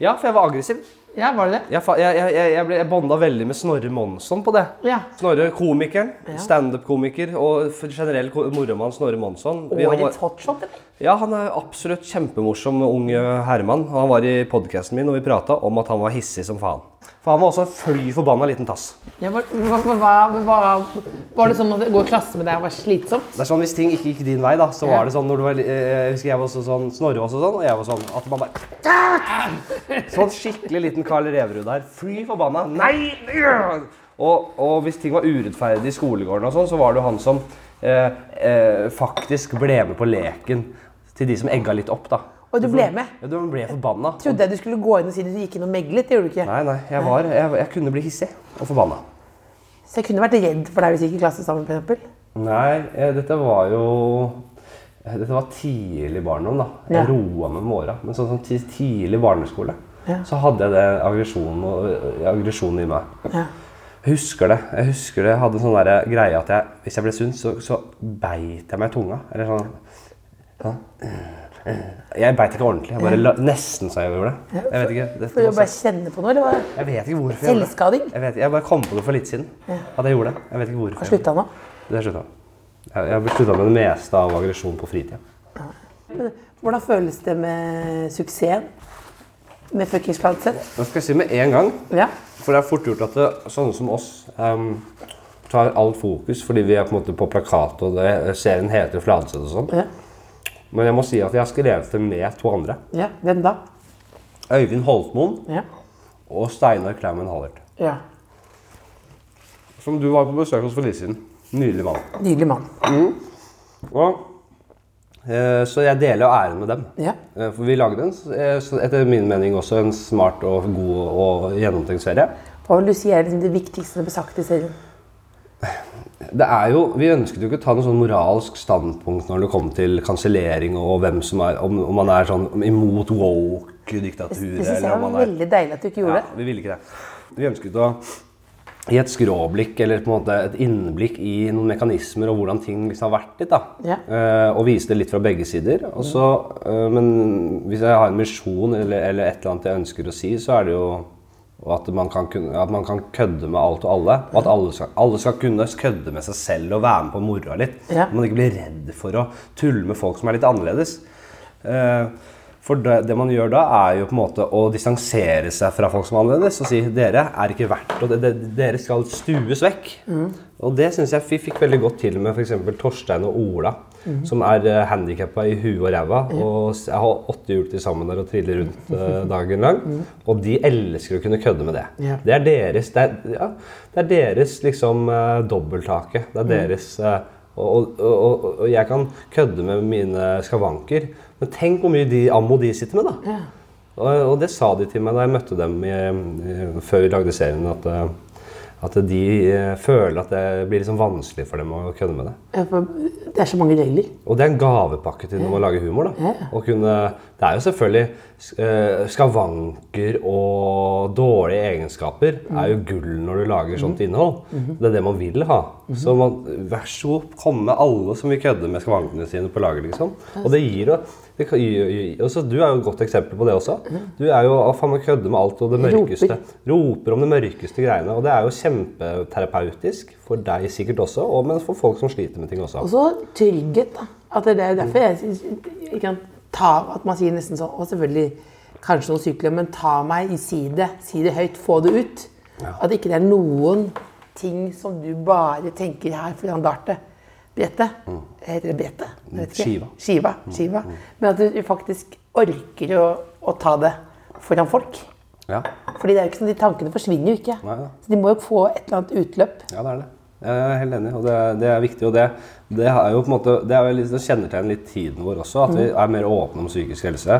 Speaker 5: Ja, for jeg var aggressiv.
Speaker 3: ja, var det det?
Speaker 5: Jeg, fa- jeg, jeg, jeg, jeg, ble- jeg bonda veldig med Snorre Monsson på det.
Speaker 3: Ja.
Speaker 5: Snorre, komikeren.
Speaker 3: Ja.
Speaker 5: Standup-komiker og for generell ko- moromann Snorre Monsson. Vi- han var-
Speaker 3: Årets hotshot, eller?
Speaker 5: Ja, han er absolutt kjempemorsom ung eh, herremann. Og Han var i podkasten min, og vi prata om at han var hissig som faen. For han var også en fly forbanna liten tass.
Speaker 3: Ja, var, hva, hva, hva, hva, var det sånn at å gå i klasse med deg var slitsomt?
Speaker 5: Det er sånn, Hvis ting ikke gikk din vei, da, så
Speaker 3: Ja.
Speaker 5: var det sånn når du var, li- eh, Jeg husker jeg var også sånn, Snorre var også sånn, og jeg var sånn. At man bare Sånn skikkelig liten Karl Reverud der. Fly forbanna. Nei! øh!» Og, og hvis ting var urettferdig i skolegården, og sånn, så var det jo han som eh, eh, faktisk ble med på leken. Til de som egga litt opp, da.
Speaker 3: Og du ble med?
Speaker 5: Ja, du ble forbanna.
Speaker 3: Trodde jeg du skulle gå inn og si at du gikk inn og meglet. Det gjorde du ikke.
Speaker 5: Nei, nei, jeg, var, jeg, jeg kunne bli hissig og forbanna.
Speaker 3: Så jeg kunne vært redd for deg hvis vi gikk i klasse sammen, for eksempel.
Speaker 5: Nei, eh, dette var jo eh, Dette var tidlig barndom, da. Jeg
Speaker 3: Ja.
Speaker 5: roa meg med åra. Men sånn, sånn ti- tidlig barneskole
Speaker 3: Ja.
Speaker 5: så hadde jeg den aggresjonen og- eh, aggresjonen i meg.
Speaker 3: Ja.
Speaker 5: Jeg husker det. Jeg husker det. Jeg hadde en sånn der greie at jeg, hvis jeg ble sunn, så, så beit jeg meg i tunga. Eller sånn, sånn. Jeg beit ikke ordentlig. Jeg bare la, nesten så jeg gjorde det. Jeg vet ikke, det,
Speaker 3: For å bare kjenne på noe, eller hva?
Speaker 5: jeg vet ikke hvorfor jeg gjorde det.
Speaker 3: Selvskading?
Speaker 5: Jeg, vet, jeg bare kom på det for litt siden. At jeg gjorde det. Jeg vet ikke hvorfor.
Speaker 3: Har
Speaker 5: jeg gjorde det.
Speaker 3: slutta nå?
Speaker 5: Det slutta. Jeg, jeg slutta med det meste av aggresjon på fritida.
Speaker 3: Hvordan føles det med suksessen? Med fuckings Fladseth?
Speaker 5: Nå skal jeg si med en gang,
Speaker 3: Ja.
Speaker 5: for det er fort gjort at det, sånne som oss ehm, tar alt fokus fordi vi er på en måte på plakat og det, eh, serien heter Fladseth og sånn.
Speaker 3: Ja.
Speaker 5: Men jeg må si at jeg har skrevet det med to andre.
Speaker 3: ja. Hvem da?
Speaker 5: Øyvind Holtmoen
Speaker 3: Ja.
Speaker 5: og Steinar Klaumen Hallert.
Speaker 3: ja.
Speaker 5: Som du var på besøk hos for litt siden. Nydelig mann.
Speaker 3: Nydelig mann.
Speaker 5: Og, eh, så jeg deler jo æren med dem.
Speaker 3: Ja.
Speaker 5: Eh, For vi lagde en, s- eh, så etter min mening også en smart og god og gjennomtenkt serie.
Speaker 3: Hva vil du si er liksom det viktigste som ble sagt i serien?
Speaker 5: Det er jo, Vi ønsket jo ikke å ta noe sånn moralsk standpunkt når det kom til kansellering og hvem som er, om, om man er sånn imot woke-diktaturet
Speaker 3: Det syns jeg
Speaker 5: eller om
Speaker 3: var
Speaker 5: man er
Speaker 3: veldig deilig at du ikke gjorde.
Speaker 5: ja, Vi ville ikke det. Vi ønsket å i et skråblikk, eller på en måte et innblikk i noen mekanismer og hvordan ting liksom har vært litt. da.
Speaker 3: Ja.
Speaker 5: Eh, og vise det litt fra begge sider. Og så, eh, men hvis jeg har en misjon eller, eller et eller annet jeg ønsker å si, så er det jo at man kan, kun- at man kan kødde med alt og alle. Og at alle skal, alle skal kunne kødde med seg selv og være med på moroa litt.
Speaker 3: Ja.
Speaker 5: Man ikke blir redd for å tulle med folk som er litt annerledes. Eh, For det, det man gjør da, er jo på en måte å distansere seg fra folk som er annerledes og si dere er ikke verdt og det, det, dere skal stues vekk.
Speaker 3: Mm.
Speaker 5: Og det syns jeg vi fikk veldig godt til med f.eks. Torstein og Ola,
Speaker 3: Mm.
Speaker 5: som er uh, handikappa i huet og ræva. Og s- jeg har åtte hjul til sammen der og triller rundt eh, dagen lang. Og de elsker å kunne kødde med det.
Speaker 3: Mm. Ja.
Speaker 5: Det er deres, det er, ja, det er deres liksom eh, dobbelthake. Det er
Speaker 3: Mm.
Speaker 5: deres eh, og, og, og, og- og jeg kan kødde med mine skavanker, men tenk hvor mye de, ammo de sitter med, da. Og, og det sa de til meg da jeg møtte dem i, i- før vi lagde serien, at, eh, at de eh, føler at det blir liksom vanskelig for dem å kødde med det.
Speaker 3: Det er så mange regler.
Speaker 5: Og det er en gavepakke til når man lager humor. da.
Speaker 3: Ja.
Speaker 5: Å kunne, det er jo selvfølgelig eh, Skavanker og dårlige egenskaper
Speaker 3: Mm.
Speaker 5: er jo gull når du lager sånt innhold.
Speaker 3: Mm-hmm.
Speaker 5: Det er det man vil ha. Så man, vær så god, kom med alle som vil kødde med skavankene sine på lager. liksom. Og det gir jo det kan, gir- gir- også, Du er jo et godt eksempel på det også. Du er jo å, faen meg kødde med alt og det
Speaker 3: Roper.
Speaker 5: mørkeste. Roper om det mørkeste greiene. Og det er jo kjempeterapeutisk for deg sikkert også, og men for folk som sliter med ting også.
Speaker 3: Og så trygghet, da. At det er derfor jeg synes- ikke kan ta At man sier nesten sånn Og selvfølgelig kanskje noen sykler, men ta meg i si det. Si det høyt. Få det ut. At ikke det er noen ting som du bare tenker her foran dartet. Brettet. Heter det brettet? Jeg vet ikke.
Speaker 5: Skiva.
Speaker 3: Mm. Skiva. Mm. skiva. Men at du faktisk orker å, å ta det foran folk.
Speaker 5: Ja.
Speaker 3: Fordi det er jo ikke sånn, de tankene forsvinner jo ikke.
Speaker 5: Nei da.
Speaker 3: Så de må jo få et eller annet utløp.
Speaker 5: Ja, det er det. Jeg er helt enig, og det er, det er viktig. Og det, det er jo på en måte, det er jo litt, det kjennetegner litt tiden vår også, at vi er mer åpne om psykisk helse.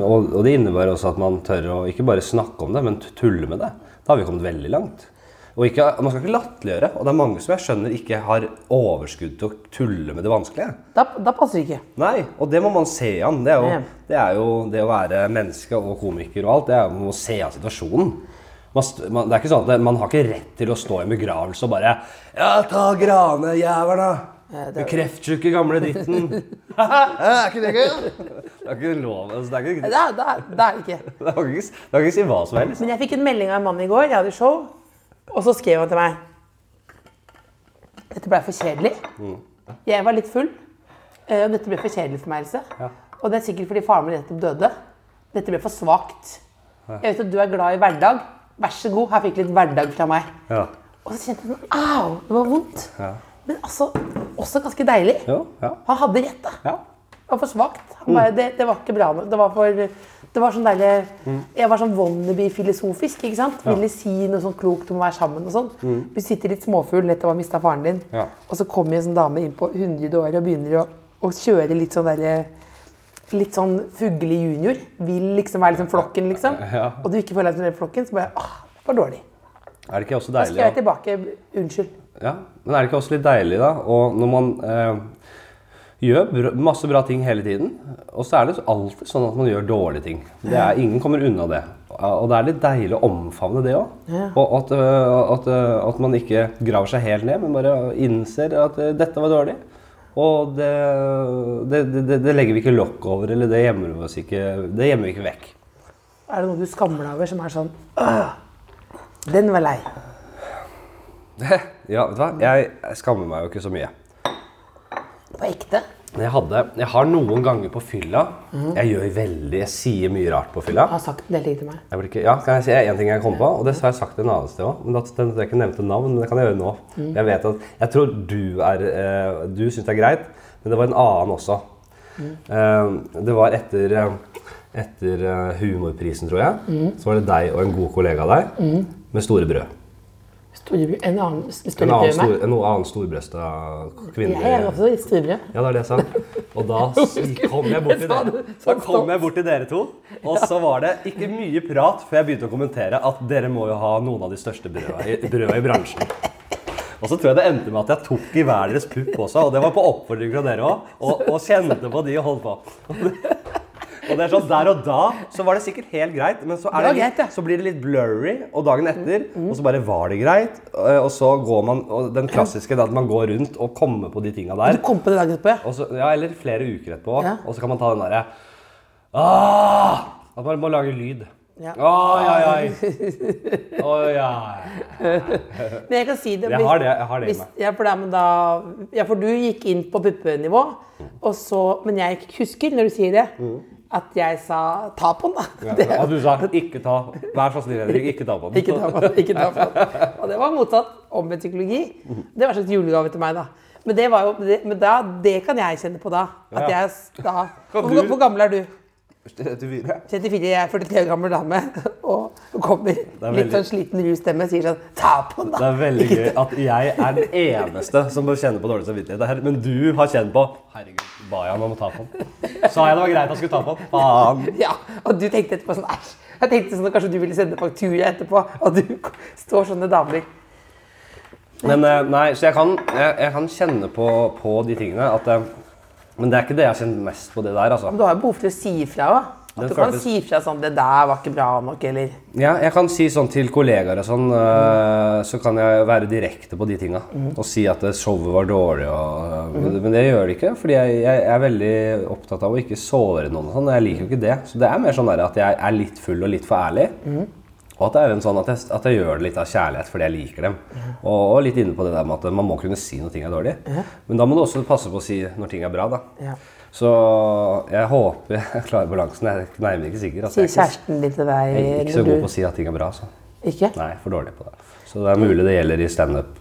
Speaker 5: Og, og det innebærer også at man tør å ikke bare snakke om det, men t- tulle med det. Da har vi kommet veldig langt. Og ikke, man skal ikke latterliggjøre. Og det er mange som jeg skjønner ikke har overskudd til å tulle med det vanskelige.
Speaker 3: Da, da passer det ikke.
Speaker 5: Nei, og det må man se an. Det er jo
Speaker 3: Ja.
Speaker 5: det, er jo det å være menneske og komiker og alt, det er jo man må se an situasjonen. Man, st- man, det er ikke sånn at det- man har ikke rett til å stå i en begravelse og bare Ja, ta Grane, jævla! Du kreftsjuke gamle dritten. er ikke det gøy? Det er ikke lov. Altså, det, er ikke, det,
Speaker 3: Da, da, da er det ikke.
Speaker 5: er ikke, det er ikke si hva som helst.
Speaker 3: Men jeg fikk en melding av en mann i går, jeg hadde show, og så skrev han til meg Dette ble for kjedelig.
Speaker 5: Mm.
Speaker 3: Jeg var litt full, eh, og dette ble for kjedelig for meg, Else.
Speaker 5: Ja.
Speaker 3: Og det er sikkert fordi faren min nettopp døde. Dette ble for svakt. Jeg vet at du er glad i hverdag. Vær så god, her fikk du litt hverdag fra meg.
Speaker 5: Ja.
Speaker 3: Og så kjente jeg sånn Au! Det var vondt.
Speaker 5: Ja.
Speaker 3: Men altså også ganske deilig.
Speaker 5: Jo, ja.
Speaker 3: Han hadde rett, da.
Speaker 5: ja.
Speaker 3: Det var for svakt. Han
Speaker 5: Mm.
Speaker 3: bare, det, det var ikke bra nok. Det var for det var sånn deilig,
Speaker 5: Mm.
Speaker 3: Jeg var sånn wannabe-filosofisk. ikke sant? Ville si noe sånn klokt om å være sammen. og sånn. Du sitter litt småfugl etter å ha mista faren din,
Speaker 5: Mm. Ja.
Speaker 3: og så kommer en sånn dame inn på 100 år og begynner å, å kjøre litt sånn derre Litt sånn fugle junior. Vil liksom være liksom flokken, liksom.
Speaker 5: Ja.
Speaker 3: Og du ikke føler deg som den flokken, så bare åh, det var dårlig.
Speaker 5: Er det ikke også
Speaker 3: Da
Speaker 5: deilig
Speaker 3: skal jeg
Speaker 5: da?
Speaker 3: tilbake. Unnskyld.
Speaker 5: Ja, men er det ikke også litt deilig da? Og når man eh, gjør br masse bra ting hele tiden, og så er det alltid sånn at man gjør dårlige ting. Det er, ingen kommer unna det. Og det er litt deilig å omfavne det òg. Og at, eh, at, eh, at man ikke graver seg helt ned, men bare innser at eh, dette var dårlig. Og det, det, det, det legger vi ikke lokk over, eller det gjemmer vi, oss ikke, det gjemmer vi ikke vekk.
Speaker 3: Er det noe du skammer deg over som er sånn «Åh, Den var lei.
Speaker 5: ja, vet du hva? Jeg, jeg skammer meg jo ikke så mye.
Speaker 3: På ekte.
Speaker 5: Men Jeg, hadde, jeg har noen ganger på fylla Jeg gjør veldig, jeg sier mye rart på fylla.
Speaker 3: Jeg har sagt en del ting til meg.
Speaker 5: Jeg blir ikke, ja, kan jeg si en ting jeg kom på, og det har jeg sagt en annen sted òg. Men da den- jeg ikke nevnte navn, men det kan jeg gjøre nå. Jeg vet at, jeg tror du, er, eh, du syns det er greit, men det var en annen også. Eh, det var etter, eh, etter eh, Humorprisen, tror jeg. Så var det deg og en god kollega av deg
Speaker 3: Mhm.
Speaker 5: med store brød.
Speaker 3: Storebror En annen
Speaker 5: En
Speaker 3: storebror
Speaker 5: annen,
Speaker 3: enn meg.
Speaker 5: stor, en annen storbrøsta kvinne.
Speaker 3: Jeg er også litt storebror.
Speaker 5: Ja, det var det jeg sa. Og da kom jeg bort til dere, da kom jeg bort til dere to. Og så var det ikke mye prat før jeg begynte å kommentere at dere må jo ha noen av de største brøda i, brøda i bransjen. Og så tror jeg det endte med at jeg tok i hver deres pupp også, og det var på oppfordring fra dere òg. Og, og kjente på de og holdt på. Og det er sånn, Der og da så var det sikkert helt greit, men så, er det
Speaker 3: Det var greit, ja. Mm.
Speaker 5: litt, så blir det litt blurry. Og dagen etter, og så bare var det greit. eh, Og og så går man og Den klassiske det at man går rundt og kommer på de tinga
Speaker 3: Du
Speaker 5: der.
Speaker 3: kom på det dagen etterpå, ja.
Speaker 5: Og så, ja, eller flere uker etterpå.
Speaker 3: Ja.
Speaker 5: Og så kan man ta den derre «Ah!» At man må lage lyd.
Speaker 3: Ja.
Speaker 5: Oi, oi, oi. Oi, oi.
Speaker 3: Men jeg kan si det.
Speaker 5: Jeg
Speaker 3: hvis-
Speaker 5: har det- jeg har det i
Speaker 3: hvis-
Speaker 5: meg.
Speaker 3: Ja, for, det er, men da, ja, for du gikk inn på puppenivå, og så, men jeg husker når du sier det,
Speaker 5: Mm.
Speaker 3: at jeg sa ta på den, da. Det-
Speaker 5: Og du sa 'ikke ta'. Vær så snill, Henrik, ikke ta på den.
Speaker 3: Ikke ta på den. Ikke ta på den. Og det var motsatt omvendt psykologi. Det var en slags julegave til meg, da. Men det, var jo, det, men da, det kan jeg kjenne på da. At
Speaker 5: Ja.
Speaker 3: jeg da
Speaker 5: Kan
Speaker 3: hvor,
Speaker 5: du-
Speaker 3: hvor gammel er du?
Speaker 5: 34.
Speaker 3: 34, jeg er 43 år gammel dame. Og kommer
Speaker 5: veldig-
Speaker 3: litt sånn sliten rus stemme og sier sånn Ta på den,
Speaker 5: Det
Speaker 3: da!
Speaker 5: er veldig gøy at jeg er den eneste som bør kjenne på dårlig samvittighet. her, Men du har kjent på 'Herregud, ba jeg ham om å ta på den?' Sa jeg det var greit at jeg skulle ta på den? Faen.
Speaker 3: Ja, Og du tenkte etterpå sånn Æsj. Jeg tenkte sånn at kanskje du ville sende faktura etterpå, og du står sånne damer
Speaker 5: Men eh, nei, så jeg kan, jeg, jeg kan kjenne på, på de tingene at eh, Men det er ikke det jeg har kjent mest på det der, altså.
Speaker 3: Du har jo behov for å si ifra òg. At
Speaker 5: Den
Speaker 3: du kan
Speaker 5: føltes-
Speaker 3: si ifra sånn 'Det der var ikke bra nok', eller
Speaker 5: Ja, jeg kan si sånn til kollegaer og sånn, eh, så kan jeg være direkte på de tinga. Og si at eh, showet var dårlig og eh, Men det gjør det ikke, fordi jeg, jeg er veldig opptatt av å ikke såre noen og sånn. og Jeg liker jo ikke det. Så det er mer sånn der at jeg er litt full og litt for ærlig. Og at det er en sånn at jeg, at jeg gjør det litt av kjærlighet fordi jeg liker dem. Og, og litt inne på det der med at man må kunne si når ting er dårlig. Men da må du også passe på å si når ting er bra, da.
Speaker 3: Ja.
Speaker 5: Så jeg håper jeg klarer balansen. Jeg er nærmere ikke sikker. altså.
Speaker 3: Sier
Speaker 5: Jeg er ikke-
Speaker 3: kjæresten din til deg
Speaker 5: jeg er ikke så
Speaker 3: når
Speaker 5: god
Speaker 3: du-
Speaker 5: på å si at ting er bra. Så.
Speaker 3: Ikke?
Speaker 5: Nei, for dårlig på det. Så det er mulig det gjelder i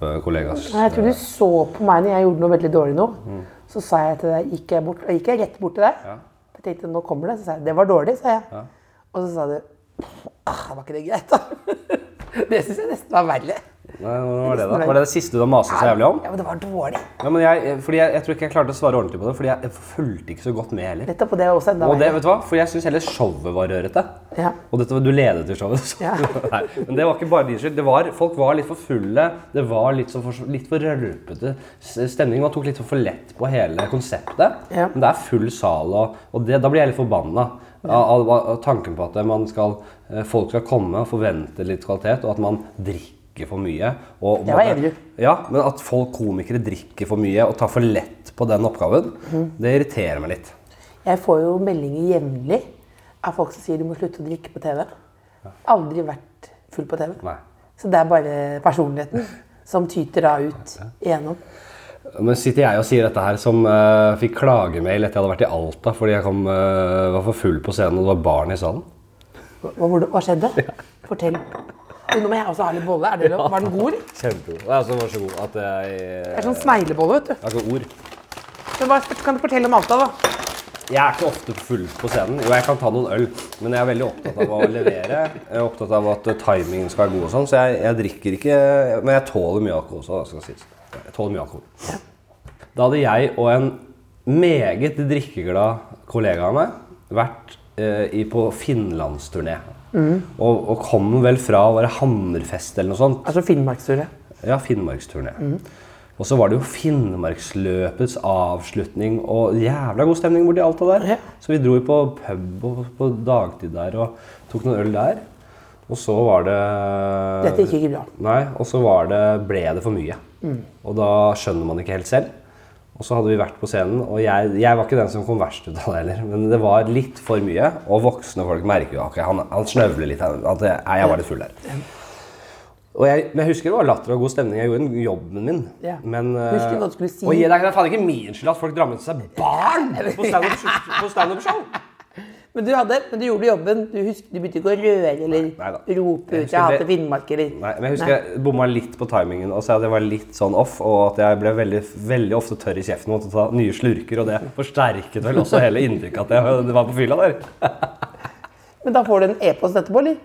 Speaker 5: standup-kollegas.
Speaker 3: Nei, jeg tror du så på meg når jeg gjorde noe veldig dårlig nå.
Speaker 5: Mm.
Speaker 3: Så sa jeg til deg, gikk jeg bort, og gikk jeg rett bort til deg. Jeg tenkte, nå kommer det, så sa jeg, det var dårlig, sa jeg. Og så sa du, ah, var ikke det greit da? det synes jeg nesten var verre.
Speaker 5: Nei, hva var det da? Var det det siste du har mast så jævlig om?
Speaker 3: Ja, men det var dårlig.
Speaker 5: Ja, men jeg, fordi jeg, jeg tror ikke jeg klarte å svare ordentlig på det, fordi jeg fulgte ikke så godt med heller.
Speaker 3: Nettopp, og det var også enda
Speaker 5: Og det,
Speaker 3: verre.
Speaker 5: vet du hva? For jeg syns heller showet var rørete.
Speaker 3: Ja.
Speaker 5: Og dette, var- du ledet jo showet. Så.
Speaker 3: Ja.
Speaker 5: Nei, men det var ikke bare din skyld. Det var, folk var litt for fulle. Det var litt, så for, litt for rølpete s- stemning. Man tok litt for lett på hele konseptet.
Speaker 3: Ja.
Speaker 5: Men det er full sal, og, og det, da blir jeg litt forbanna. Av, av, av tanken på at man skal, eh, folk skal komme og forvente litt kvalitet, og at man drikker for mye. Og,
Speaker 3: Det var edru.
Speaker 5: ja, men at folk komikere drikker for mye og tar for lett på den oppgaven,
Speaker 3: Mhm.
Speaker 5: det irriterer meg litt.
Speaker 3: Jeg får jo meldinger jevnlig av folk som sier, du må slutte å drikke på TV. Aldri vært full på TV.
Speaker 5: Nei.
Speaker 3: Så det er bare personligheten som tyter da ut igjennom.
Speaker 5: Men sitter jeg og sier dette her som eh, fikk klagemail etter jeg hadde vært i Alta fordi jeg kom, eh, var for full på scenen og det var barn i salen.
Speaker 3: Hva, hvordan- hva skjedde? Fortell. Du, Nå må jeg også ha litt bolle. Er det lov? Var den god? eller?
Speaker 5: Kjempegod. Det er så, vær så god at jeg
Speaker 3: Det er sånn sneglebolle, vet du.
Speaker 5: Jeg har ikke ord.
Speaker 3: Men hva kan du fortelle om Alta, da?
Speaker 5: Jeg er ikke ofte full på scenen. Jo, jeg kan ta noen øl, men jeg er veldig opptatt av å levere. Jeg er opptatt av at eh, timingen skal være god og sånn, så jeg, jeg drikker ikke Men jeg tåler mye alkohol også, da, skal det sies. Jeg tåler mye alkohol. Da hadde jeg og en meget drikkeglad kollega av meg vært eh, i, på finlandsturné. Og, og kom vel fra å være Hammerfest eller noe sånt.
Speaker 3: Altså Finnmarksturé.
Speaker 5: Ja, Finnmarksturné. Og så var det jo Finnmarksløpets avslutning og jævla god stemning borti Alta der.
Speaker 3: Ja.
Speaker 5: Så vi dro jo på pub og på dagtid der og tok noen øl der. Og så var det
Speaker 3: Dette gikk ikke bra.
Speaker 5: Nei, og så var det, ble det for mye.
Speaker 3: Mm.
Speaker 5: Og da skjønner man ikke helt selv. Og så hadde vi vært på scenen, og jeg, jeg var ikke den som kom verst ut av det heller. Men det var litt for mye, og voksne folk merker jo ok, han, han snøvler litt. han- At jeg, nei, jeg var litt full der. Og jeg, men jeg husker det var latter og god stemning. Jeg gjorde en- jobben min.
Speaker 3: Ja.
Speaker 5: Men, eh,
Speaker 3: Husker du hva du skulle si?
Speaker 5: Og jeg, det er faen ikke min skyld at folk drar med seg barn på standup- på standup-show!
Speaker 3: Men du, hadde, men du gjorde jobben. Du, husker, du begynte ikke å røre eller
Speaker 5: Nei da.
Speaker 3: rope
Speaker 5: Jeg
Speaker 3: ut 'Jeg
Speaker 5: husker
Speaker 3: hater
Speaker 5: det-
Speaker 3: Finnmark', eller
Speaker 5: Nei, men jeg husker jeg bomma litt på timingen. Altså at jeg var litt sånn off, og at jeg ble veldig, veldig ofte tørr i kjeften og måtte ta nye slurker. Og det forsterket vel også hele inntrykket at jeg var på fylla der.
Speaker 3: Men da får du en e-post etterpå, eller?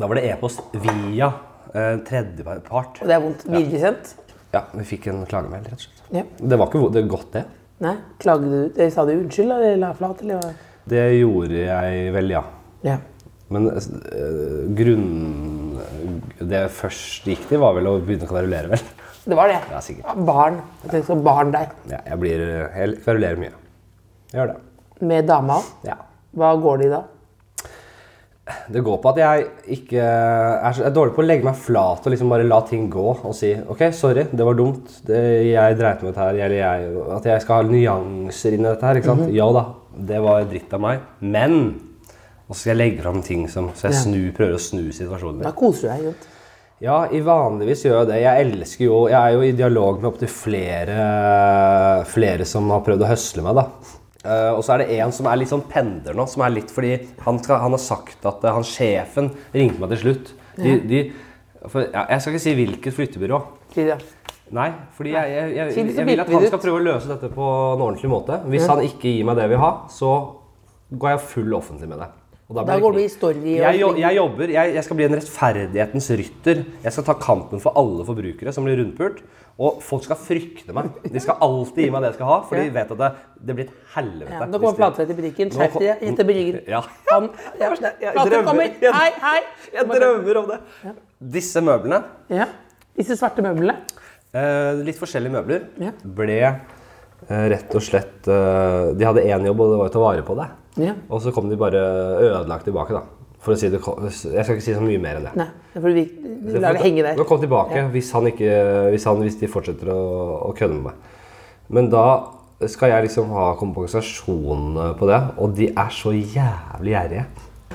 Speaker 5: Da var det e-post via eh, tredjepart.
Speaker 3: Og det er vondt. Videresendt.
Speaker 5: Ja, vi fikk en klagemail, rett og slett.
Speaker 3: Ja.
Speaker 5: Det var ikke vo- det er godt, det.
Speaker 3: Nei? Klagde du? eller Sa du unnskyld, eller la flat, eller hva?
Speaker 5: Det gjorde jeg vel, ja.
Speaker 3: Ja.
Speaker 5: Men eh, grunn... Det jeg først gikk til, var vel å begynne å kverulere, vel.
Speaker 3: Det var det.
Speaker 5: Ja, sikkert.
Speaker 3: sånn Barn. Jeg tenkte så barn deg.
Speaker 5: Ja, jeg blir Jeg kverulerer mye. Jeg gjør det.
Speaker 3: med dama.
Speaker 5: Ja.
Speaker 3: Hva går det i da?
Speaker 5: Det går på at jeg ikke er, så, jeg er dårlig på å legge meg flat og liksom bare la ting gå og si OK, sorry, det var dumt. Det, jeg dreit meg ut her. Eller jeg, at jeg skal ha nyanser inn i dette her. ikke sant? Ja da, det var dritt av meg. Men Og så skal jeg legge fram ting som Så jeg
Speaker 3: Ja.
Speaker 5: snur, prøver å snu situasjonen.
Speaker 3: Da koser du deg. Jont.
Speaker 5: Ja, i vanligvis gjør jeg det. Jeg elsker jo Jeg er jo i dialog med opptil flere, flere som har prøvd å høsle meg, da. Eh, og så er det en som er litt sånn pendler nå, som er litt fordi han, skal, han har sagt at eh, han sjefen ringte meg til slutt. De, de, for, ja, jeg skal ikke si hvilket flyttebyrå.
Speaker 3: Lydia.
Speaker 5: Nei, fordi jeg, jeg, jeg,
Speaker 3: Si
Speaker 5: jeg,
Speaker 3: det så
Speaker 5: vil at
Speaker 3: bitte
Speaker 5: han
Speaker 3: litt.
Speaker 5: skal prøve å løse dette på en ordentlig måte. Hvis han ikke gir meg det jeg vil ha, så går jeg full offentlig med det. Og
Speaker 3: Da
Speaker 5: blir det
Speaker 3: går du
Speaker 5: krig.
Speaker 3: i story og
Speaker 5: Jeg, jo, jeg jobber, jeg, jeg skal bli en rettferdighetens rytter. Jeg skal ta kampen for alle forbrukere som blir rundpult. Og folk skal frykte meg. De skal alltid gi meg det jeg skal ha, for de
Speaker 3: Ja.
Speaker 5: vet at det, det blir et helvete.
Speaker 3: Ja, nå
Speaker 5: hvis
Speaker 3: kommer
Speaker 5: de-
Speaker 3: Flatseth i butikken. Skjerp
Speaker 5: kom-
Speaker 3: dere. Jette Brygger.
Speaker 5: Ja.
Speaker 3: Han, ja,
Speaker 5: jeg
Speaker 3: Flatseth
Speaker 5: drømmer.
Speaker 3: sånn, kommer.
Speaker 5: Jeg-
Speaker 3: Hei, hei.
Speaker 5: Jeg drømmer om det. Disse møblene,
Speaker 3: Ja. Disse svarte møblene.
Speaker 5: eh, litt forskjellige møbler,
Speaker 3: Ja.
Speaker 5: ble eh, rett og slett eh, De hadde én jobb, og det var å ta vare på det.
Speaker 3: Ja.
Speaker 5: Og så kom de bare ødelagt tilbake, da. For å si det, ko- jeg skal ikke si så mye mer enn det.
Speaker 3: Nei, da får du vir- du lar det henge der.
Speaker 5: Nå kom tilbake hvis, han ikke, hvis, han, hvis de fortsetter å, å kødde med meg. Men da skal jeg liksom ha kompensasjon på det, og de er så jævlig gjerrige.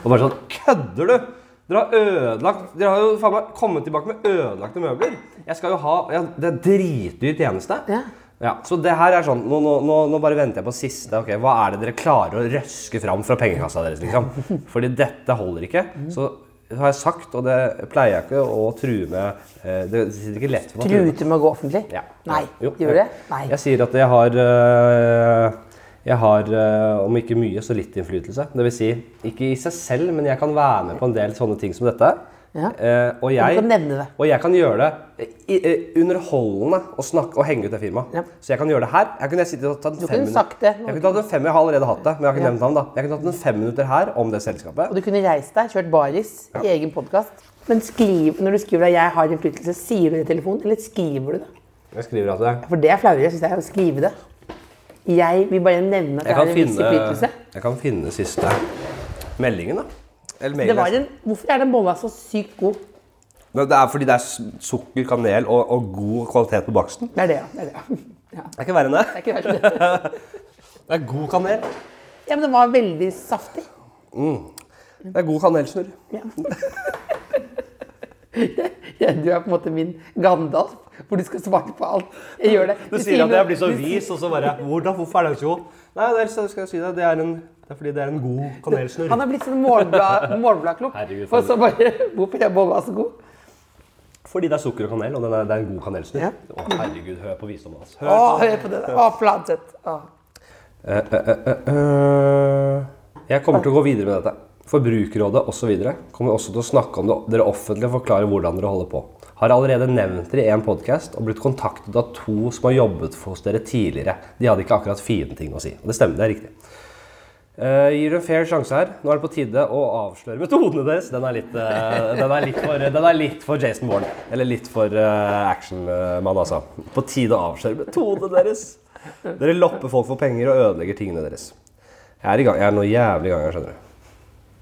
Speaker 5: Og bare sånn Kødder du?! Dere har ødelagt Dere har jo faen meg kommet tilbake med ødelagte møbler! Jeg skal jo ha ja, Det er dritdyr tjeneste.
Speaker 3: Ja.
Speaker 5: Ja, så det her er sånn, nå, nå, nå, nå bare venter jeg på siste. ok, Hva er det dere klarer å røske fram fra pengekassa deres? liksom? Fordi dette holder ikke. Så eh, har jeg sagt, og det pleier jeg ikke å true med eh, Det sitter ikke lett for meg å true
Speaker 3: Truer
Speaker 5: med.
Speaker 3: til med å gå offentlig?
Speaker 5: Ja.
Speaker 3: Nei.
Speaker 5: Jo,
Speaker 3: Gjør det? Nei.
Speaker 5: Jeg sier at jeg har eh, jeg har eh, om ikke mye, så litt innflytelse. Det vil si, ikke i seg selv, men jeg kan være med på en del sånne ting som dette.
Speaker 3: Ja.
Speaker 5: Eh, og, jeg,
Speaker 3: kan nevne det.
Speaker 5: og jeg kan gjøre det i, eh, underholdende å snakke og henge ut det firmaet.
Speaker 3: Ja.
Speaker 5: Så jeg kan gjøre det her. Jeg kunne sittet og tatt
Speaker 3: Du
Speaker 5: en
Speaker 3: kunne
Speaker 5: fem
Speaker 3: sagt det.
Speaker 5: minutter. Jeg kunne tatt en fem, jeg har allerede hatt det, men jeg har ikke nevnt navn da. Jeg kunne tatt en fem minutter her om det selskapet.
Speaker 3: Og du kunne reist deg, kjørt baris i egen podkast. Men skriv, når du skriver at 'jeg har innflytelse', sier du det i telefonen, eller skriver du det?
Speaker 5: Jeg skriver at jeg,
Speaker 3: For det er flauere, syns jeg, å skrive det. Jeg vil bare nevne at jeg,
Speaker 5: jeg,
Speaker 3: har
Speaker 5: kan
Speaker 3: en viss innflytelse.
Speaker 5: finne, jeg kan finne siste meldingen da. Eller
Speaker 3: Det
Speaker 5: mailen.
Speaker 3: var en, hvorfor er den bolla så sykt god?
Speaker 5: Men det er fordi det er s- sukker, kanel og, og god kvalitet på baksten.
Speaker 3: Det er det, ja. Det er det. ja. Ja,
Speaker 5: Det er ikke verre enn
Speaker 3: det
Speaker 5: det.
Speaker 3: er ikke verst.
Speaker 5: Det er god kanel. Mm.
Speaker 3: Ja, men den var veldig saftig.
Speaker 5: Det er god kanelsnurr.
Speaker 3: Ja, du er på en måte min Gandalf, hvor du skal svare på alt. Jeg gjør det.
Speaker 5: Du sier at
Speaker 3: noe-
Speaker 5: jeg blir så
Speaker 3: du-
Speaker 5: vis, og så bare Hvordan? Hvorfor er det så god? Nei, det er, så skal jeg si deg, det er, en, det er fordi det er en god kanelsnurr.
Speaker 3: Han er blitt sånn målbladklump. Målblad
Speaker 5: Herregud,
Speaker 3: og så bare Hvorfor er bolla så god?
Speaker 5: Fordi det er sukker og kanel, og den er, det er en god kanelsnurr.
Speaker 3: Ja.
Speaker 5: Å, herregud, hør på visdommen hans. Hør.
Speaker 3: Å, hør på det. der. Å, Fladseth. Å.
Speaker 5: Eh, eh, eh, eh. Jeg kommer til å gå videre med dette. Forbrukerrådet osv. kommer også til å snakke om det. Dere offentlig forklarer hvordan dere holder på. Har allerede nevnt dere i en podkast og blitt kontaktet av to som har jobbet for hos dere tidligere. De hadde ikke akkurat fine ting å si. Og det stemmer, det er riktig. Eh, gir du en fair sjanse her. Nå er det på tide å avsløre metodene deres. Den er litt, eh, den er litt, for, den er litt for Jason Bourne. Eller litt for uh, actionmann, altså. På tide å avsløre metodene deres. Dere lopper folk for penger og ødelegger tingene deres. Jeg er i gang. Jeg er nå jævlig i gang, jeg skjønner du.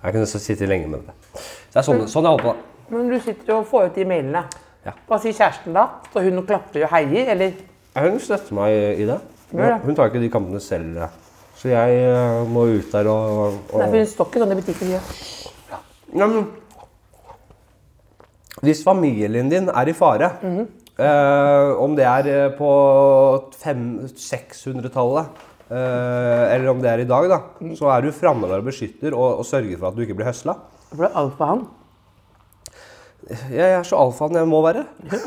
Speaker 5: Jeg kunne sittet lenge med det. Så det er
Speaker 3: Mm.
Speaker 5: sånn, sånn jeg holder på. da.
Speaker 3: Men du sitter og får ut de mailene.
Speaker 5: Ja.
Speaker 3: Hva sier kjæresten da? Står hun og klapper og heier, eller?
Speaker 5: Hun støtter meg i det.
Speaker 3: Gjør det.
Speaker 5: Hun tar ikke de kampene selv. da. Så jeg eh, må ut der og,
Speaker 3: Nei,
Speaker 5: og
Speaker 3: for hun står ikke sånn i butikken. sier hun.
Speaker 5: Ja, men Hvis familien din er i fare, eh, om det er eh, på fem- 600-tallet eh, eller om det er i dag, da, så er du framme der og beskytter og, og sørger for at du ikke blir høsla.
Speaker 3: For det er alt for han.
Speaker 5: Jeg er så alfaen jeg må være.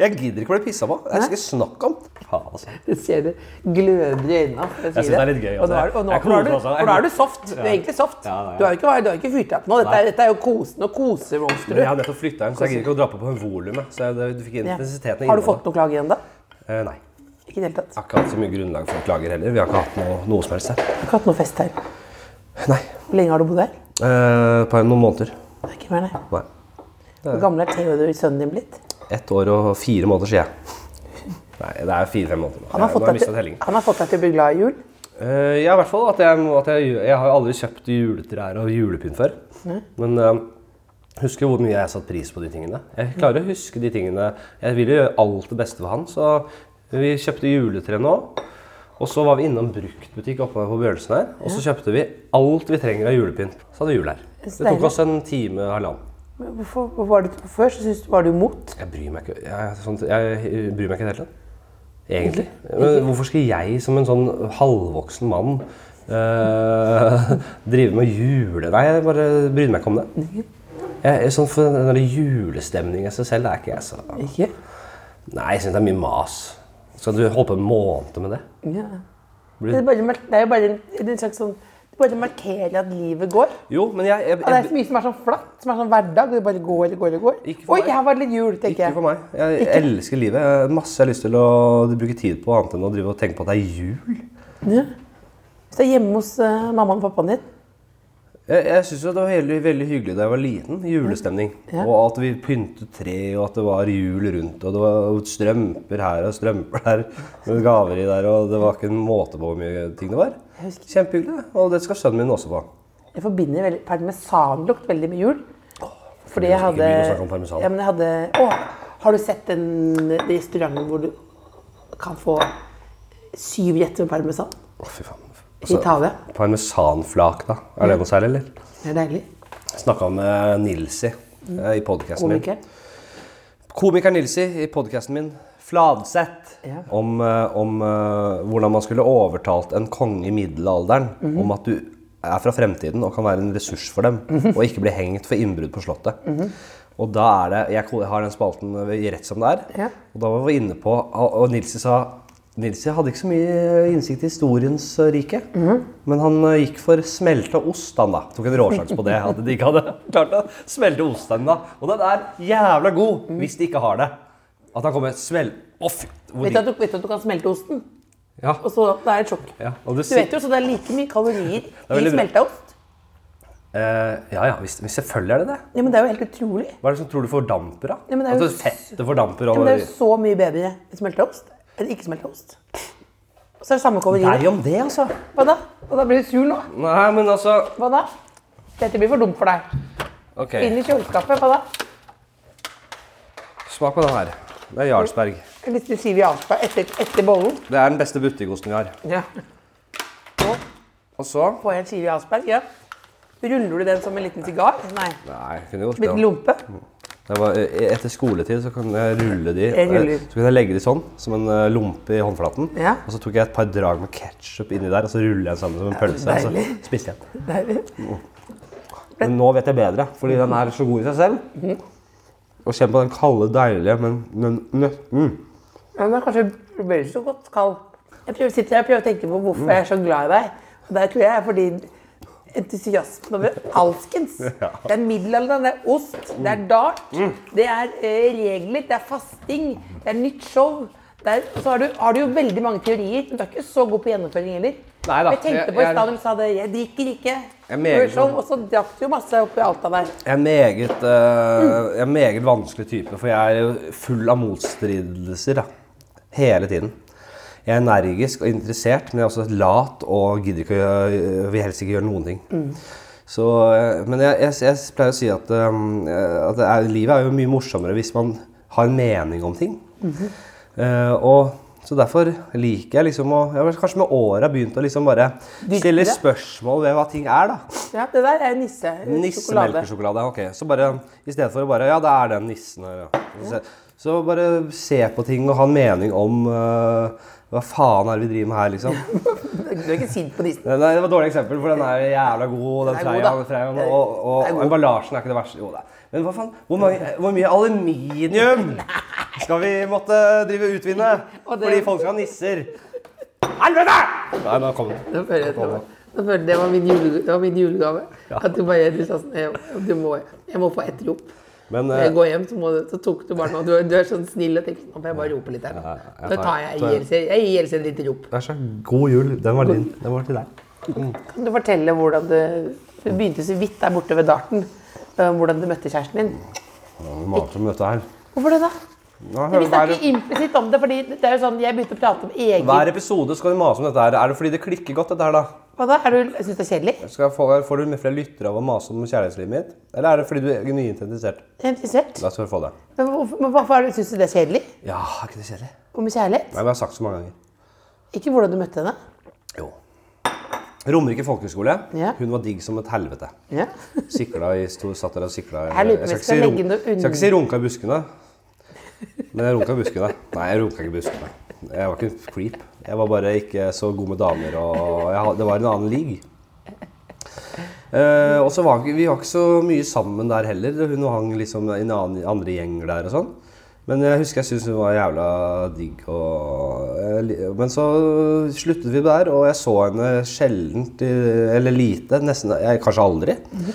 Speaker 5: Jeg gidder ikke å bli pissa på. Jeg skal ikke snakke om det. Faen, altså.
Speaker 3: Du ser det gløder i øynene hans. Jeg
Speaker 5: synes det er litt gøy,
Speaker 3: Og nå
Speaker 5: altså.
Speaker 3: er, du- og nå,
Speaker 5: Jeg
Speaker 3: for, da er du,
Speaker 5: koser meg også.
Speaker 3: for da er du soft. Du er egentlig soft.
Speaker 5: Ja, ja, ja.
Speaker 3: Du har jo ikke, du har ikke fyrt deg opp nå. Dette er,
Speaker 5: Nei.
Speaker 3: dette er jo kosen og kosemonsteret.
Speaker 5: Men jeg har nettopp flytta inn, så jeg gidder ikke å dra på på volumet. Så jeg, det- du fikk
Speaker 3: Ja.
Speaker 5: intensiteten i
Speaker 3: Har du
Speaker 5: innholdet.
Speaker 3: fått noe klage igjen, da?
Speaker 5: Eh, nei.
Speaker 3: Ikke i det hele tatt.
Speaker 5: Jeg har ikke hatt så mye grunnlag for å klage heller. Vi har ikke hatt noe, noe som helst her.
Speaker 3: Du har ikke hatt noe fest her.
Speaker 5: Nei.
Speaker 3: Hvor lenge har du bodd her?
Speaker 5: Eh, på noen måneder.
Speaker 3: Det er ikke mer, nei.
Speaker 5: Nei.
Speaker 3: Hvor gammel er Theodor, sønnen din, blitt?
Speaker 5: Ett år og fire måneder siden. Nei, det er fire-fem måneder. nå.
Speaker 3: Han har,
Speaker 5: Jeg-
Speaker 3: fått
Speaker 5: nå
Speaker 3: deg
Speaker 5: har jeg mistet
Speaker 3: til,
Speaker 5: tellingen.
Speaker 3: han har fått deg til å bli glad i jul.
Speaker 5: Eh, ja, i hvert fall at jeg, må- at jeg, jeg har jo aldri kjøpt juletrær og julepynt før. Men uh, husker hvor mye jeg satte pris på de tingene. Jeg klarer å huske de tingene. Jeg ville gjøre alt det beste for han, så vi kjøpte juletre nå. Og så var vi innom bruktbutikk oppe på Bjørnsen her, og så kjøpte vi alt vi trenger av julepynt. Så hadde vi jul her. Det
Speaker 3: Så
Speaker 5: tok
Speaker 3: deilig.
Speaker 5: oss en time halvannen.
Speaker 3: Men Hvorfor hvorfor var du før? Så synes, var du imot?
Speaker 5: Jeg bryr meg ikke, jeg, er sånn- jeg bryr meg ikke i det hele tatt. Egentlig. Men hvorfor skal jeg som en sånn halvvoksen mann eh, drive med jule... Nei, jeg bare bryr meg ikke om det. Jeg, er sånn for den der julestemningen i seg selv det er ikke jeg så
Speaker 3: Ikke?
Speaker 5: Nei, jeg syns det er mye mas. Skal du holde på en måned med det?
Speaker 3: Ja.
Speaker 5: Blir-
Speaker 3: Det er, bare, det er jo bare en, en slags sånn det er bare å markere at livet går.
Speaker 5: Jo, men jeg, jeg,
Speaker 3: Og det er
Speaker 5: jeg,
Speaker 3: så mye som er sånn flatt, som er sånn hverdag. Det bare går og går og går.
Speaker 5: Ikke for
Speaker 3: Oi,
Speaker 5: meg.
Speaker 3: her var det litt jul, tenker
Speaker 5: Ikke
Speaker 3: jeg.
Speaker 5: for meg. Jeg, jeg elsker livet. Jeg har masse jeg har lyst til å bruke tid på annet enn å drive og tenke på at det er jul.
Speaker 3: Hvis du er hjemme hos eh, mammaen og pappaen din
Speaker 5: Jeg, jeg syns det var veldig, veldig hyggelig da jeg var liten. Julestemning.
Speaker 3: Ja.
Speaker 5: Og at vi pyntet tre, og at det var jul rundt. Og det var strømper her og strømper der. Med gaver i der, og det var ikke en måte på hvor mye ting det var.
Speaker 3: Jeg husker-
Speaker 5: Kjempehyggelig. Og det skal sønnen min også på.
Speaker 3: Jeg forbinder veldig, parmesanlukt veldig med jul. Fordi
Speaker 5: vi
Speaker 3: jeg
Speaker 5: skal ikke
Speaker 3: hadde,
Speaker 5: begynne å snakke om parmesan.
Speaker 3: ja, men jeg hadde Å, har du sett den restauranten hvor du kan få syv gjetter med parmesan?
Speaker 5: Å, fy faen. Altså,
Speaker 3: I Italia.
Speaker 5: Parmesanflak, da. Er det noe særlig, eller?
Speaker 3: Det er deilig.
Speaker 5: Snakka med Nilsi
Speaker 3: Mm.
Speaker 5: eh, i podkasten min.
Speaker 3: Komiker.
Speaker 5: Komiker Nilsi i podkasten min Fladseth
Speaker 3: Ja.
Speaker 5: om, eh, om eh, hvordan man skulle overtalt en konge i middelalderen
Speaker 3: Mhm.
Speaker 5: om at du er fra fremtiden og kan være en ressurs for dem,
Speaker 3: Mhm.
Speaker 5: og ikke bli hengt for innbrudd på Slottet. Og da er det, Jeg ko- har den spalten eh, i rett som det er.
Speaker 3: Ja.
Speaker 5: Og da var vi inne på, og og Nilsi sa Nilsi hadde ikke så mye eh, innsikt i historiens eh, rike,
Speaker 3: Mhm.
Speaker 5: men han eh, gikk for smelta ost, han da. Tok en råsjans på det, at de ikke hadde klart å smelte ost ennå. Og den er jævla god,
Speaker 3: Mm.
Speaker 5: hvis de ikke har det. At han kommer smell... Å, fy! hvor
Speaker 3: Vet du,
Speaker 5: de-
Speaker 3: at du, vet du at du kan smelte osten?
Speaker 5: Ja.
Speaker 3: Og så, det er et sjokk.
Speaker 5: ja. Og
Speaker 3: Du
Speaker 5: du sier
Speaker 3: vet jo, så det er like mye kalorier
Speaker 5: er veldig
Speaker 3: i
Speaker 5: bra.
Speaker 3: smelta ost.
Speaker 5: eh, Ja ja, visst- men selvfølgelig er det det.
Speaker 3: Ja, men det er jo helt utrolig.
Speaker 5: Hva er det som tror du fordamper, da?
Speaker 3: Ja, men det er
Speaker 5: at
Speaker 3: jo
Speaker 5: det fettet fordamper
Speaker 3: Ja, men det er
Speaker 5: over
Speaker 3: jo så mye bedre smelta ost enn ikke smelta ost. Og så er det samme kalorier.
Speaker 5: Deg om det, altså.
Speaker 3: Hva da? Og da blir du sur nå.
Speaker 5: Nei, men altså
Speaker 3: Hva da? Dette blir for dumt for deg.
Speaker 5: OK.
Speaker 3: Inn i kjøleskapet. Hva da?
Speaker 5: Smak på den her. Det er Jarlsberg.
Speaker 3: En liten Siv Jarlsberg etter, etter bollen.
Speaker 5: Det er den beste butikkosten vi har.
Speaker 3: Ja.
Speaker 5: Og så
Speaker 3: Får jeg en Siv Jarlsberg? Ja. Ruller du den som en liten sigar? Nei.
Speaker 5: Nei, jeg kunne gjort det.
Speaker 3: Liten lompe?
Speaker 5: Det var, eh, etter skoletid så kan jeg rulle de.
Speaker 3: Jeg ruller.
Speaker 5: eh, Så kan jeg legge de sånn, som en eh, lompe i håndflaten.
Speaker 3: Ja.
Speaker 5: Og så tok jeg et par drag med ketsjup inni der, og så ruller jeg den sammen som en pølse. Og så
Speaker 3: deilig.
Speaker 5: spiste jeg den.
Speaker 3: Deilig.
Speaker 5: Men nå vet jeg bedre, fordi den er så god i seg selv. Og kjenn på den kalde, deilige, men, men nøtten.
Speaker 3: Ja, men det er kanskje veldig så godt kald. Jeg prøver, sitter her og prøver å tenke på hvorfor jeg er så glad i deg. Og der tror jeg er fordi entusiasmen over alskens. Det er middelalderen, det er ost, det er dart,
Speaker 5: Mm.
Speaker 3: det er eh, regler, det er fasting, det er nytt show. Det er, og så har du, har du jo veldig mange teorier, men du er ikke så god på gjennomføring heller.
Speaker 5: Neida,
Speaker 3: Jeg tenkte
Speaker 5: jeg-
Speaker 3: på i
Speaker 5: jeg-
Speaker 3: stad da du sa det, jeg drikker ikke.
Speaker 5: Jeg er meget
Speaker 3: Show,
Speaker 5: sånn.
Speaker 3: Og så drakk du jo masse oppi Alta der.
Speaker 5: Jeg er en meget, eh, jeg er en meget vanskelig type, for jeg er jo full av motstridelser da. hele tiden. Jeg er energisk og interessert, men jeg er også lat og gidder ikke å gjøre, vil helst ikke gjøre noen ting.
Speaker 3: Mm.
Speaker 5: Så, eh, men jeg, jeg, jeg pleier å si at, um, eh, at det er, livet er jo mye morsommere hvis man har en mening om ting.
Speaker 3: Mhm.
Speaker 5: Eh, og så derfor liker jeg liksom å jeg har Kanskje med åra begynt å liksom bare stille
Speaker 3: det?
Speaker 5: spørsmål ved hva ting er, da.
Speaker 3: Ja, det der er nisse. sjokolade.
Speaker 5: Nissemelkesjokolade. Ok, så bare i stedet for å bare Ja, det er den nissen her, ja. Så, så bare se på ting og ha en mening om eh, hva faen er det vi driver med her, liksom?
Speaker 3: Du er ikke sint på nissen.
Speaker 5: Nei, det var et dårlig eksempel, for den er jævla god. og
Speaker 3: Den er god,
Speaker 5: Den freia,
Speaker 3: da.
Speaker 5: den freia, og, og, og,
Speaker 3: Den er god.
Speaker 5: emballasjen er ikke det verste. Jo, det er. Men hva faen? Hvor, mange, hvor mye aluminium skal vi måtte drive utvinne?
Speaker 3: Og det-
Speaker 5: Fordi folk skal ha nisser. Helvete! Nei, nå kom den.
Speaker 3: Nå føler jeg at det var, nå føler jeg det var, min, jule, det var min julegave. At du bare du sa sånn jeg, du må, jeg må få ett rop.
Speaker 5: Men,
Speaker 3: Når
Speaker 5: eh,
Speaker 3: jeg går hjem, så, må, du- så tok du bare noe. Du, er- du er sånn snill og tenker sånn, Nå får jeg bare rope litt her.
Speaker 5: Ja, ja,
Speaker 3: Nå tar jeg jeg gir Else- jeg gir Else et lite rop.
Speaker 5: vær så god. god jul. Den var din. Den var til deg.
Speaker 3: Kan du fortelle hvordan du Du begynte så vidt der borte ved darten. eh, Hvordan du møtte kjæresten din.
Speaker 5: Maser om dette her.
Speaker 3: Hvorfor det, da?
Speaker 5: Ja,
Speaker 3: Vi
Speaker 5: hver,
Speaker 3: snakker implisitt om det, fordi det er jo sånn, jeg begynte å prate om egen
Speaker 5: hver episode skal du mase om dette her. Er det fordi det klikker godt, dette her, da?
Speaker 3: Hva da? Er du, synes du det er kjedelig?
Speaker 5: Skal jeg få, får du mer flere lyttere av å mase om kjærlighetslivet mitt? Eller er det fordi du er genuint interessert?
Speaker 3: Jeg er interessert.
Speaker 5: Da skal du få det.
Speaker 3: Men hvorfor, men hvorfor er det- synes du det er kjedelig?
Speaker 5: Ja, er ikke det kjedelig? Nei,
Speaker 3: Om kjærlighet?
Speaker 5: men jeg har sagt så mange ganger.
Speaker 3: Ikke hvordan du møtte henne.
Speaker 5: Jo. Romerike folkehøgskole.
Speaker 3: Ja.
Speaker 5: Hun var digg som et helvete.
Speaker 3: Ja.
Speaker 5: Sikla i stor, satt der og sikla
Speaker 3: Jeg lurer på om jeg skal legge noe
Speaker 5: skal ikke si runka i buskene. Men jeg runka i buskene. Nei, jeg runka ikke i buskene. Jeg var ikke en creep. Jeg var bare ikke så god med damer, og jeg, had- det var en annen league. Eh, og så var ikke- vi var ikke så mye sammen der heller. Hun hang liksom i en annen, andre gjenger der og sånn. Men jeg husker jeg syntes hun var jævla digg. Og, jeg li- men så sluttet vi der, og jeg så henne sjeldent, i- eller lite, nesten, jeg, kanskje aldri.
Speaker 3: Mhm.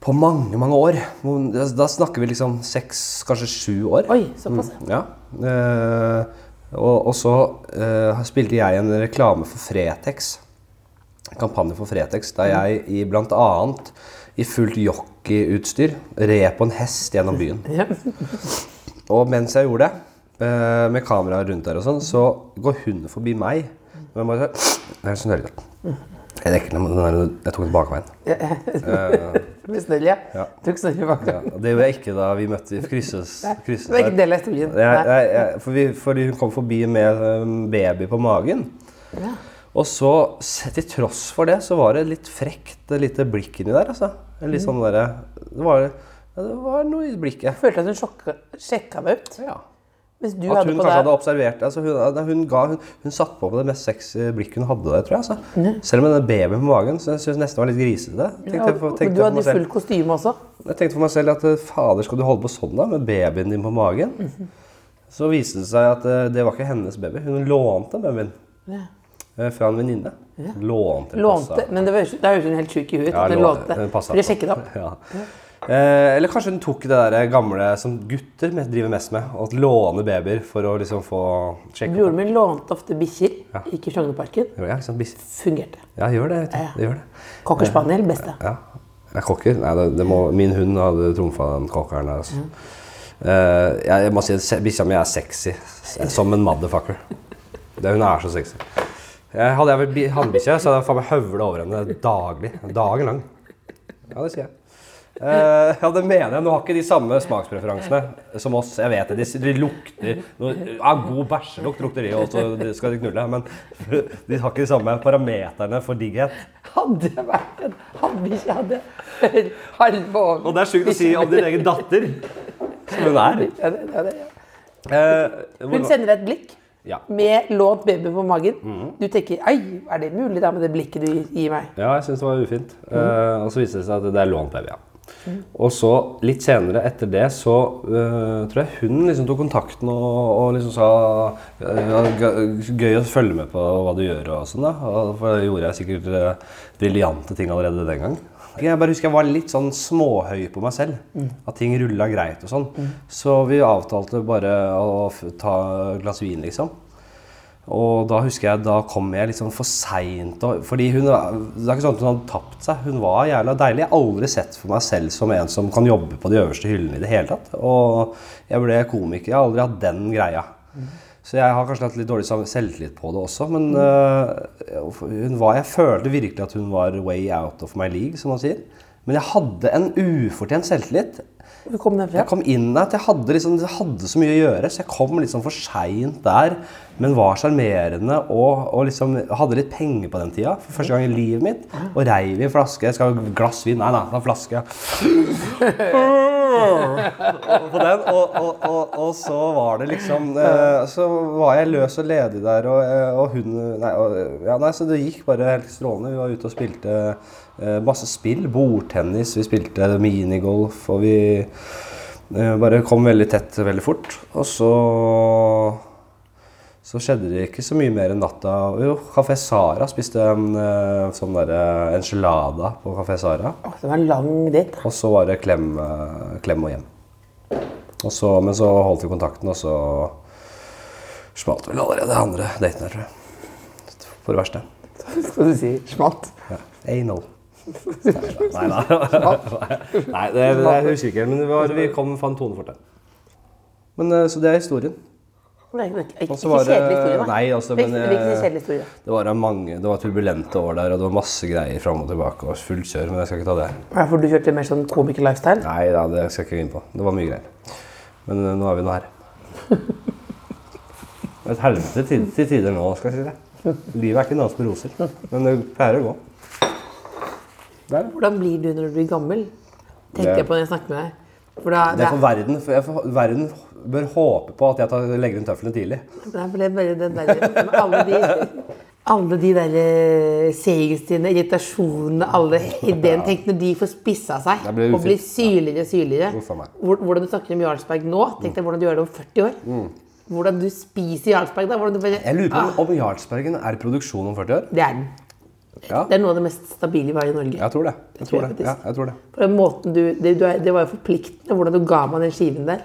Speaker 5: På mange, mange år. Hvor- Da da snakker vi liksom seks, kanskje sju år.
Speaker 3: Oi, såpass.
Speaker 5: Mm, ja. Eh, og, og så eh, spilte jeg en reklame for Fretex kampanje for Fretex, der jeg i blant annet i fullt jockeyutstyr red på en hest gjennom byen.
Speaker 3: Ja.
Speaker 5: Og mens jeg gjorde det, eh, med kamera rundt der og sånn, så går hun forbi meg. Og jeg bare Det er sånn høyt. Jeg dekker den, men den er, jeg tok den bakveien.
Speaker 3: Med Snølle, ja.
Speaker 5: Ja.
Speaker 3: Tok Snølle bak
Speaker 5: Ja, og det gjorde jeg ikke da vi møtte krysses. krysses
Speaker 3: Det var ikke
Speaker 5: der.
Speaker 3: en del av historien.
Speaker 5: Jeg,
Speaker 3: Nei.
Speaker 5: jeg, jeg, for vi, fordi hun kom forbi med um, baby på magen. Og så, se- til tross for det, så var det litt frekt et lite blikk inni der, altså. En Litt
Speaker 3: Mm.
Speaker 5: sånn derre det, var- ja, det var noe i blikket.
Speaker 3: Følte at hun sjokka, sjekka meg ut.
Speaker 5: Ja.
Speaker 3: Mens du hadde
Speaker 5: At hun
Speaker 3: på
Speaker 5: kanskje
Speaker 3: deg
Speaker 5: hadde observert altså hun, ja, hun, ga, hun, hun satt på med det mest sexy blikket hun hadde der, tror jeg. Altså. Selv med den babyen på magen, så jeg synes nesten det var litt grisete. Tenkte,
Speaker 3: ja,
Speaker 5: jeg for-
Speaker 3: Men
Speaker 5: tenkte jeg
Speaker 3: du
Speaker 5: for
Speaker 3: hadde
Speaker 5: meg
Speaker 3: jo
Speaker 5: selv.
Speaker 3: full kostyme også.
Speaker 5: Jeg tenkte for meg selv at eh, fader, skal du holde på sånn da, med babyen din på magen? Så viste det seg at eh, det var ikke hennes baby. Hun lånte babyen
Speaker 3: Ja.
Speaker 5: eh, fra en venninne. Lånte.
Speaker 3: Lånte,
Speaker 5: passa.
Speaker 3: men det var- da høres hun helt sjuk i huet.
Speaker 5: Ja,
Speaker 3: at hun
Speaker 5: lånte.
Speaker 3: lånte.
Speaker 5: Den passa
Speaker 3: Ble
Speaker 5: på.
Speaker 3: sjekket opp.
Speaker 5: Ja. Eh, eller kanskje hun tok det der eh, gamle som gutter me- driver mest med. Å låne babyer for å liksom få sjekke.
Speaker 3: Broren min lånte ofte bikkjer. Gikk i Frognerparken.
Speaker 5: Ja, ikke sant? Bis-
Speaker 3: Fungerte.
Speaker 5: ja, gjør det. vet du. Det gjør det.
Speaker 3: Cocker spaniel, beste.
Speaker 5: Ja. Jeg kokker? Nei, det, det må, min hund hadde trumfa den kokkeren der. Altså. Eh, jeg, jeg må si at se- bikkja mi er sexy. s- Som en motherfucker. Det, hun er så sexy. Jeg, hadde jeg vært bi- hannbikkje, så hadde jeg faen meg høvla over henne daglig. Dagen lang. Ja, det sier jeg. Eh, ja, det mener jeg. Nå har ikke de samme smakspreferansene som oss. Jeg vet det. De, s- de lukter noe, ja, God bæsjelukt lukter de, og så de- skal de knulle. Men de har ikke de samme parameterne for digghet.
Speaker 3: Hadde jeg vært en hannbikkje, hadde jeg halve over.
Speaker 5: Og det er sjukt å si om din egen datter. Som hun er.
Speaker 3: Ja, det- ja, det- ja.
Speaker 5: Eh,
Speaker 3: Hun
Speaker 5: hvor,
Speaker 3: sender deg et blikk
Speaker 5: ja. Mhm.
Speaker 3: med lånt baby på magen. Du tenker 'ai, er det mulig da med det blikket du gir meg'?
Speaker 5: ja, jeg syns det var ufint. Eh, og så viste det seg at det er lånt baby. Ja. Og så litt senere etter det så eh, tror jeg hun liksom tok kontakten og, og liksom sa eh, «Gø- Gøy å følge med på hva du gjør og sånn, da. Og, for da gjorde jeg sikkert eh, briljante ting allerede den gang. Jeg bare husker jeg var litt sånn småhøy på meg selv. At ting rulla greit og sånn. Så vi avtalte bare å f ta et glass vin, liksom. Og da husker jeg, da kom jeg liksom for seint. og- Fordi hun, var- det er ikke sånn at hun hadde tapt seg. Hun var jævla deilig. Jeg har aldri sett for meg selv som en som kan jobbe på de øverste hyllene i det hele tatt. Og jeg ble komiker. Jeg har aldri hatt den greia. Så jeg har kanskje hatt litt dårlig sam- selvtillit på det også, men øh, hun var, jeg følte virkelig at hun var way out of my league, som man sier. Men jeg hadde en ufortjent selvtillit.
Speaker 3: Hvor kom den fra?
Speaker 5: Jeg kom inn der, at jeg hadde, liksom, jeg hadde så mye å gjøre, så jeg kom liksom for seint der. Men var sjarmerende og, og liksom hadde litt penger på den tida. For første gang i livet mitt. Og reiv i en flaske. Jeg skal ha glass vin. Nei, nei, det er en flaske. Og på den, og, og, og, og så var det liksom eh, Så var jeg løs og ledig der, og, eh, og hun nei, og, ja, nei, så det gikk bare helt strålende. Vi var ute og spilte eh, masse spill. Bordtennis, vi spilte minigolf, og vi Eh, bare kom veldig tett veldig fort. Og så så skjedde det ikke så mye mer enn natta. Jo, Kafé Sara spiste en eh, sånn derre enchilada på Kafé Sara.
Speaker 3: Åh, det var en lang date.
Speaker 5: Og så var det klem, eh, klem og hjem. Og så, men så holdt vi kontakten, og så smalt vel allerede andre daten her, tror jeg. For det verste.
Speaker 3: Skal du si smalt?
Speaker 5: Ja. Anal. Nei da. Nei, det, det, jeg husker ikke. Men det var, vi kom, fant tonen for det. Men, eh, så det er historien.
Speaker 3: Nei, men ikke,
Speaker 5: Og
Speaker 3: ikke
Speaker 5: så var det-
Speaker 3: kjedelig historie, da.
Speaker 5: Nei, altså,
Speaker 3: Ikke-
Speaker 5: men,
Speaker 3: Ikke
Speaker 5: eh,
Speaker 3: kjedelig historie.
Speaker 5: Det var, mange, det var turbulente år der, og det var masse greier fram og tilbake. og Fullt kjør, men jeg skal ikke ta det her.
Speaker 3: Nei, For du kjørte mer sånn komiker-lifestyle?
Speaker 5: Nei da, det skal jeg ikke gå inn på. Det var mye greier. Men eh, nå er vi nå her. Et helvete til, til tider nå, skal jeg si det. Livet er ikke en dans på roser, men det pleier å gå.
Speaker 3: Hvordan blir du når du blir gammel?
Speaker 5: Det-
Speaker 3: Tenker jeg på når jeg snakker med deg. For da,
Speaker 5: Det er for verden, for jeg, for verden bør håpe på at jeg tar, legger inn tøflene tidlig.
Speaker 3: Nei, for det er bare den der Alle de, alle de der eh, seighetstidene, irritasjonene, alle ideen Tenk når de får spissa seg
Speaker 5: Det blir
Speaker 3: og blir
Speaker 5: ufint.
Speaker 3: syrligere og syrligere.
Speaker 5: Uff a meg.
Speaker 3: Hvor- Hvordan du snakker om Jarlsberg nå, tenk deg hvordan du gjør det om 40 år. Hvordan du spiser Jarlsberg da. Hvordan du bare,
Speaker 5: Mm. Jeg lurer på
Speaker 3: Ah,
Speaker 5: om- om Jarlsbergen er i produksjon om 40 år.
Speaker 3: det er den.
Speaker 5: Ja,
Speaker 3: Det er noe av det mest stabile vi har i Norge.
Speaker 5: jeg tror det. Jeg
Speaker 3: tror
Speaker 5: tror
Speaker 3: jeg
Speaker 5: det. Ja, jeg tror det.
Speaker 3: For den måten du, det, du er, det var jo forpliktende hvordan du ga meg den skiven der.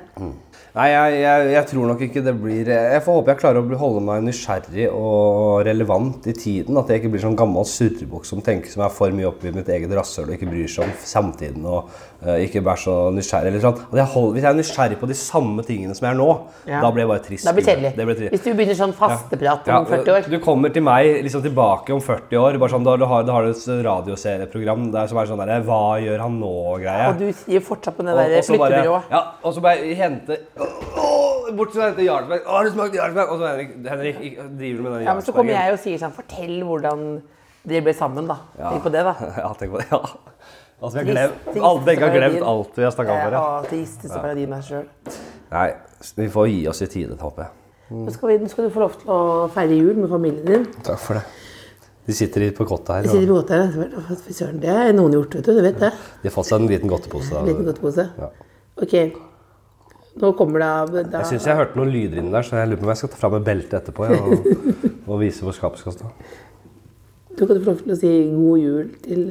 Speaker 5: Nei, jeg, jeg, jeg tror nok ikke det blir eh, Jeg får håpe jeg klarer å bli- holde meg nysgjerrig og relevant i tiden. At jeg ikke blir sånn gammel surrebukk som tenker som er for mye oppi mitt eget rasshøl og ikke bryr seg om samtiden og eh, ikke er så nysgjerrig. Eller sånn. At jeg holder, hvis jeg er nysgjerrig på de samme tingene som jeg er nå,
Speaker 3: Ja.
Speaker 5: da blir jeg bare trist.
Speaker 3: Da blir det kjedelig.
Speaker 5: Det blir trist.
Speaker 3: Hvis du begynner sånn fasteprat om 40 år.
Speaker 5: Du kommer til meg liksom tilbake om 40 år. bare sånn, Da du har, da har du et radioserieprogram der som er sånn der, Hva gjør han nå-greie.
Speaker 3: Og du sier fortsatt på det
Speaker 5: Og-
Speaker 3: der
Speaker 5: og så bare-
Speaker 3: flyttebyrået.
Speaker 5: Ja, og så bare hente Åh, Bort til hente Jarlsberg. Å, har du smakt Jarlsberg? Og så Henrik, Henrik ikke- driver du med den
Speaker 3: Ja, men så kommer jeg og sier sånn Fortell hvordan dere ble sammen, da. Tenk på det, da.
Speaker 5: Ja, tenk på det. ja. Altså, vi har
Speaker 3: Trist-
Speaker 5: glemt,
Speaker 3: trist
Speaker 5: alle, begge har
Speaker 3: parodien.
Speaker 5: glemt alt vi har snakka om. her,
Speaker 3: Ja,
Speaker 5: Ja.
Speaker 3: tristeste parodien er sjøl.
Speaker 5: Nei, vi får gi oss i tide, håper jeg. Mm.
Speaker 3: Nå skal, vi, nå skal du få lov til å feire jul med familien din.
Speaker 5: Takk for det. De sitter i- på kottet her.
Speaker 3: Jeg sitter
Speaker 5: Og
Speaker 3: på hotellet, og tenker, «Fy søren, det har noen gjort, vet du. Du vet det.
Speaker 5: de har fått seg en liten godtepose. da.
Speaker 3: Liten godtepose.
Speaker 5: Ja.
Speaker 3: Ok. Nå kommer det av da,
Speaker 5: Jeg syns jeg hørte noen lyder inni der, så jeg lurer på om jeg skal ta fram et belte etterpå jeg, og, og vise hvor skapet skal stå.
Speaker 3: Nå kan du få lov til å si god jul til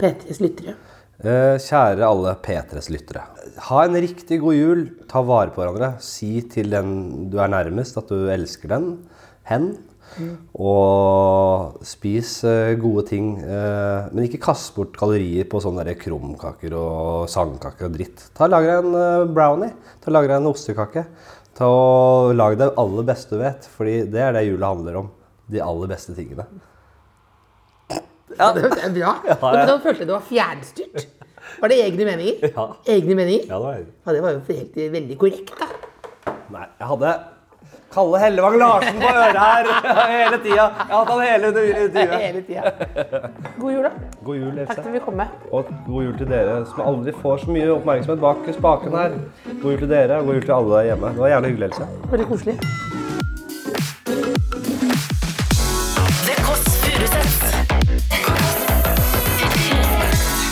Speaker 3: P3s lyttere.
Speaker 5: Eh, Kjære alle P3s lyttere. Ha en riktig god jul. Ta vare på hverandre. Si til den du er nærmest at du elsker den. Hen. Og spis eh, gode ting. eh, men ikke kast bort kalorier på sånne der krumkaker og sandkaker og dritt. Ta og Lag deg en eh, brownie. Ta og Lag deg en ostekake. Ta og Lag deg det aller beste du vet, Fordi det er det jula handler om. De aller beste tingene.
Speaker 3: Ja, det er bra. Hvordan følte du det var fjernstyrt? Var det egne meninger?
Speaker 5: Ja.
Speaker 3: Egne meninger?
Speaker 5: det var
Speaker 3: Ja, det var jo helt, eh, veldig korrekt, da.
Speaker 5: Nei, jeg hadde Kalle Hellevang Larsen på øret her hele tida. Jeg hadde han hele under intervjuet.
Speaker 3: Hele tida. God jul, da.
Speaker 5: God jul,
Speaker 3: Takk
Speaker 5: FC.
Speaker 3: for at vi kom med.
Speaker 5: Og god jul til dere som aldri får så mye oppmerksomhet bak spaken her. God jul til dere, og god jul til alle der hjemme. Det var jævlig hyggelig, Else.
Speaker 3: Veldig koselig.
Speaker 2: Det Kåss Furuseths.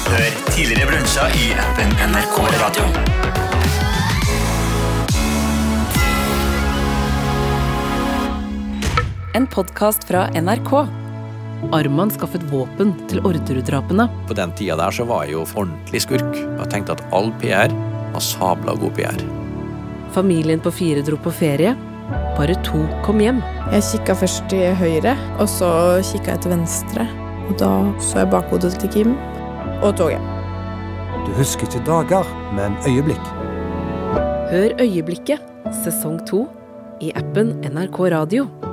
Speaker 7: Hør tidligere brunsjer i appen NRK Radio.
Speaker 8: En podkast fra NRK.
Speaker 2: Arman skaffet våpen til Orderud-drapene.
Speaker 9: På den tida der så var jeg jo ordentlig skurk. Jeg tenkte at all PR var sabla god PR.
Speaker 2: Familien på fire dro på ferie. Bare to kom hjem.
Speaker 10: Jeg kikka først til høyre, og så kikka jeg til venstre. Og da så jeg bakhodet til Kim og toget.
Speaker 11: Du husker ikke dager, men øyeblikk.
Speaker 2: Hør Øyeblikket, sesong to, i appen NRK Radio.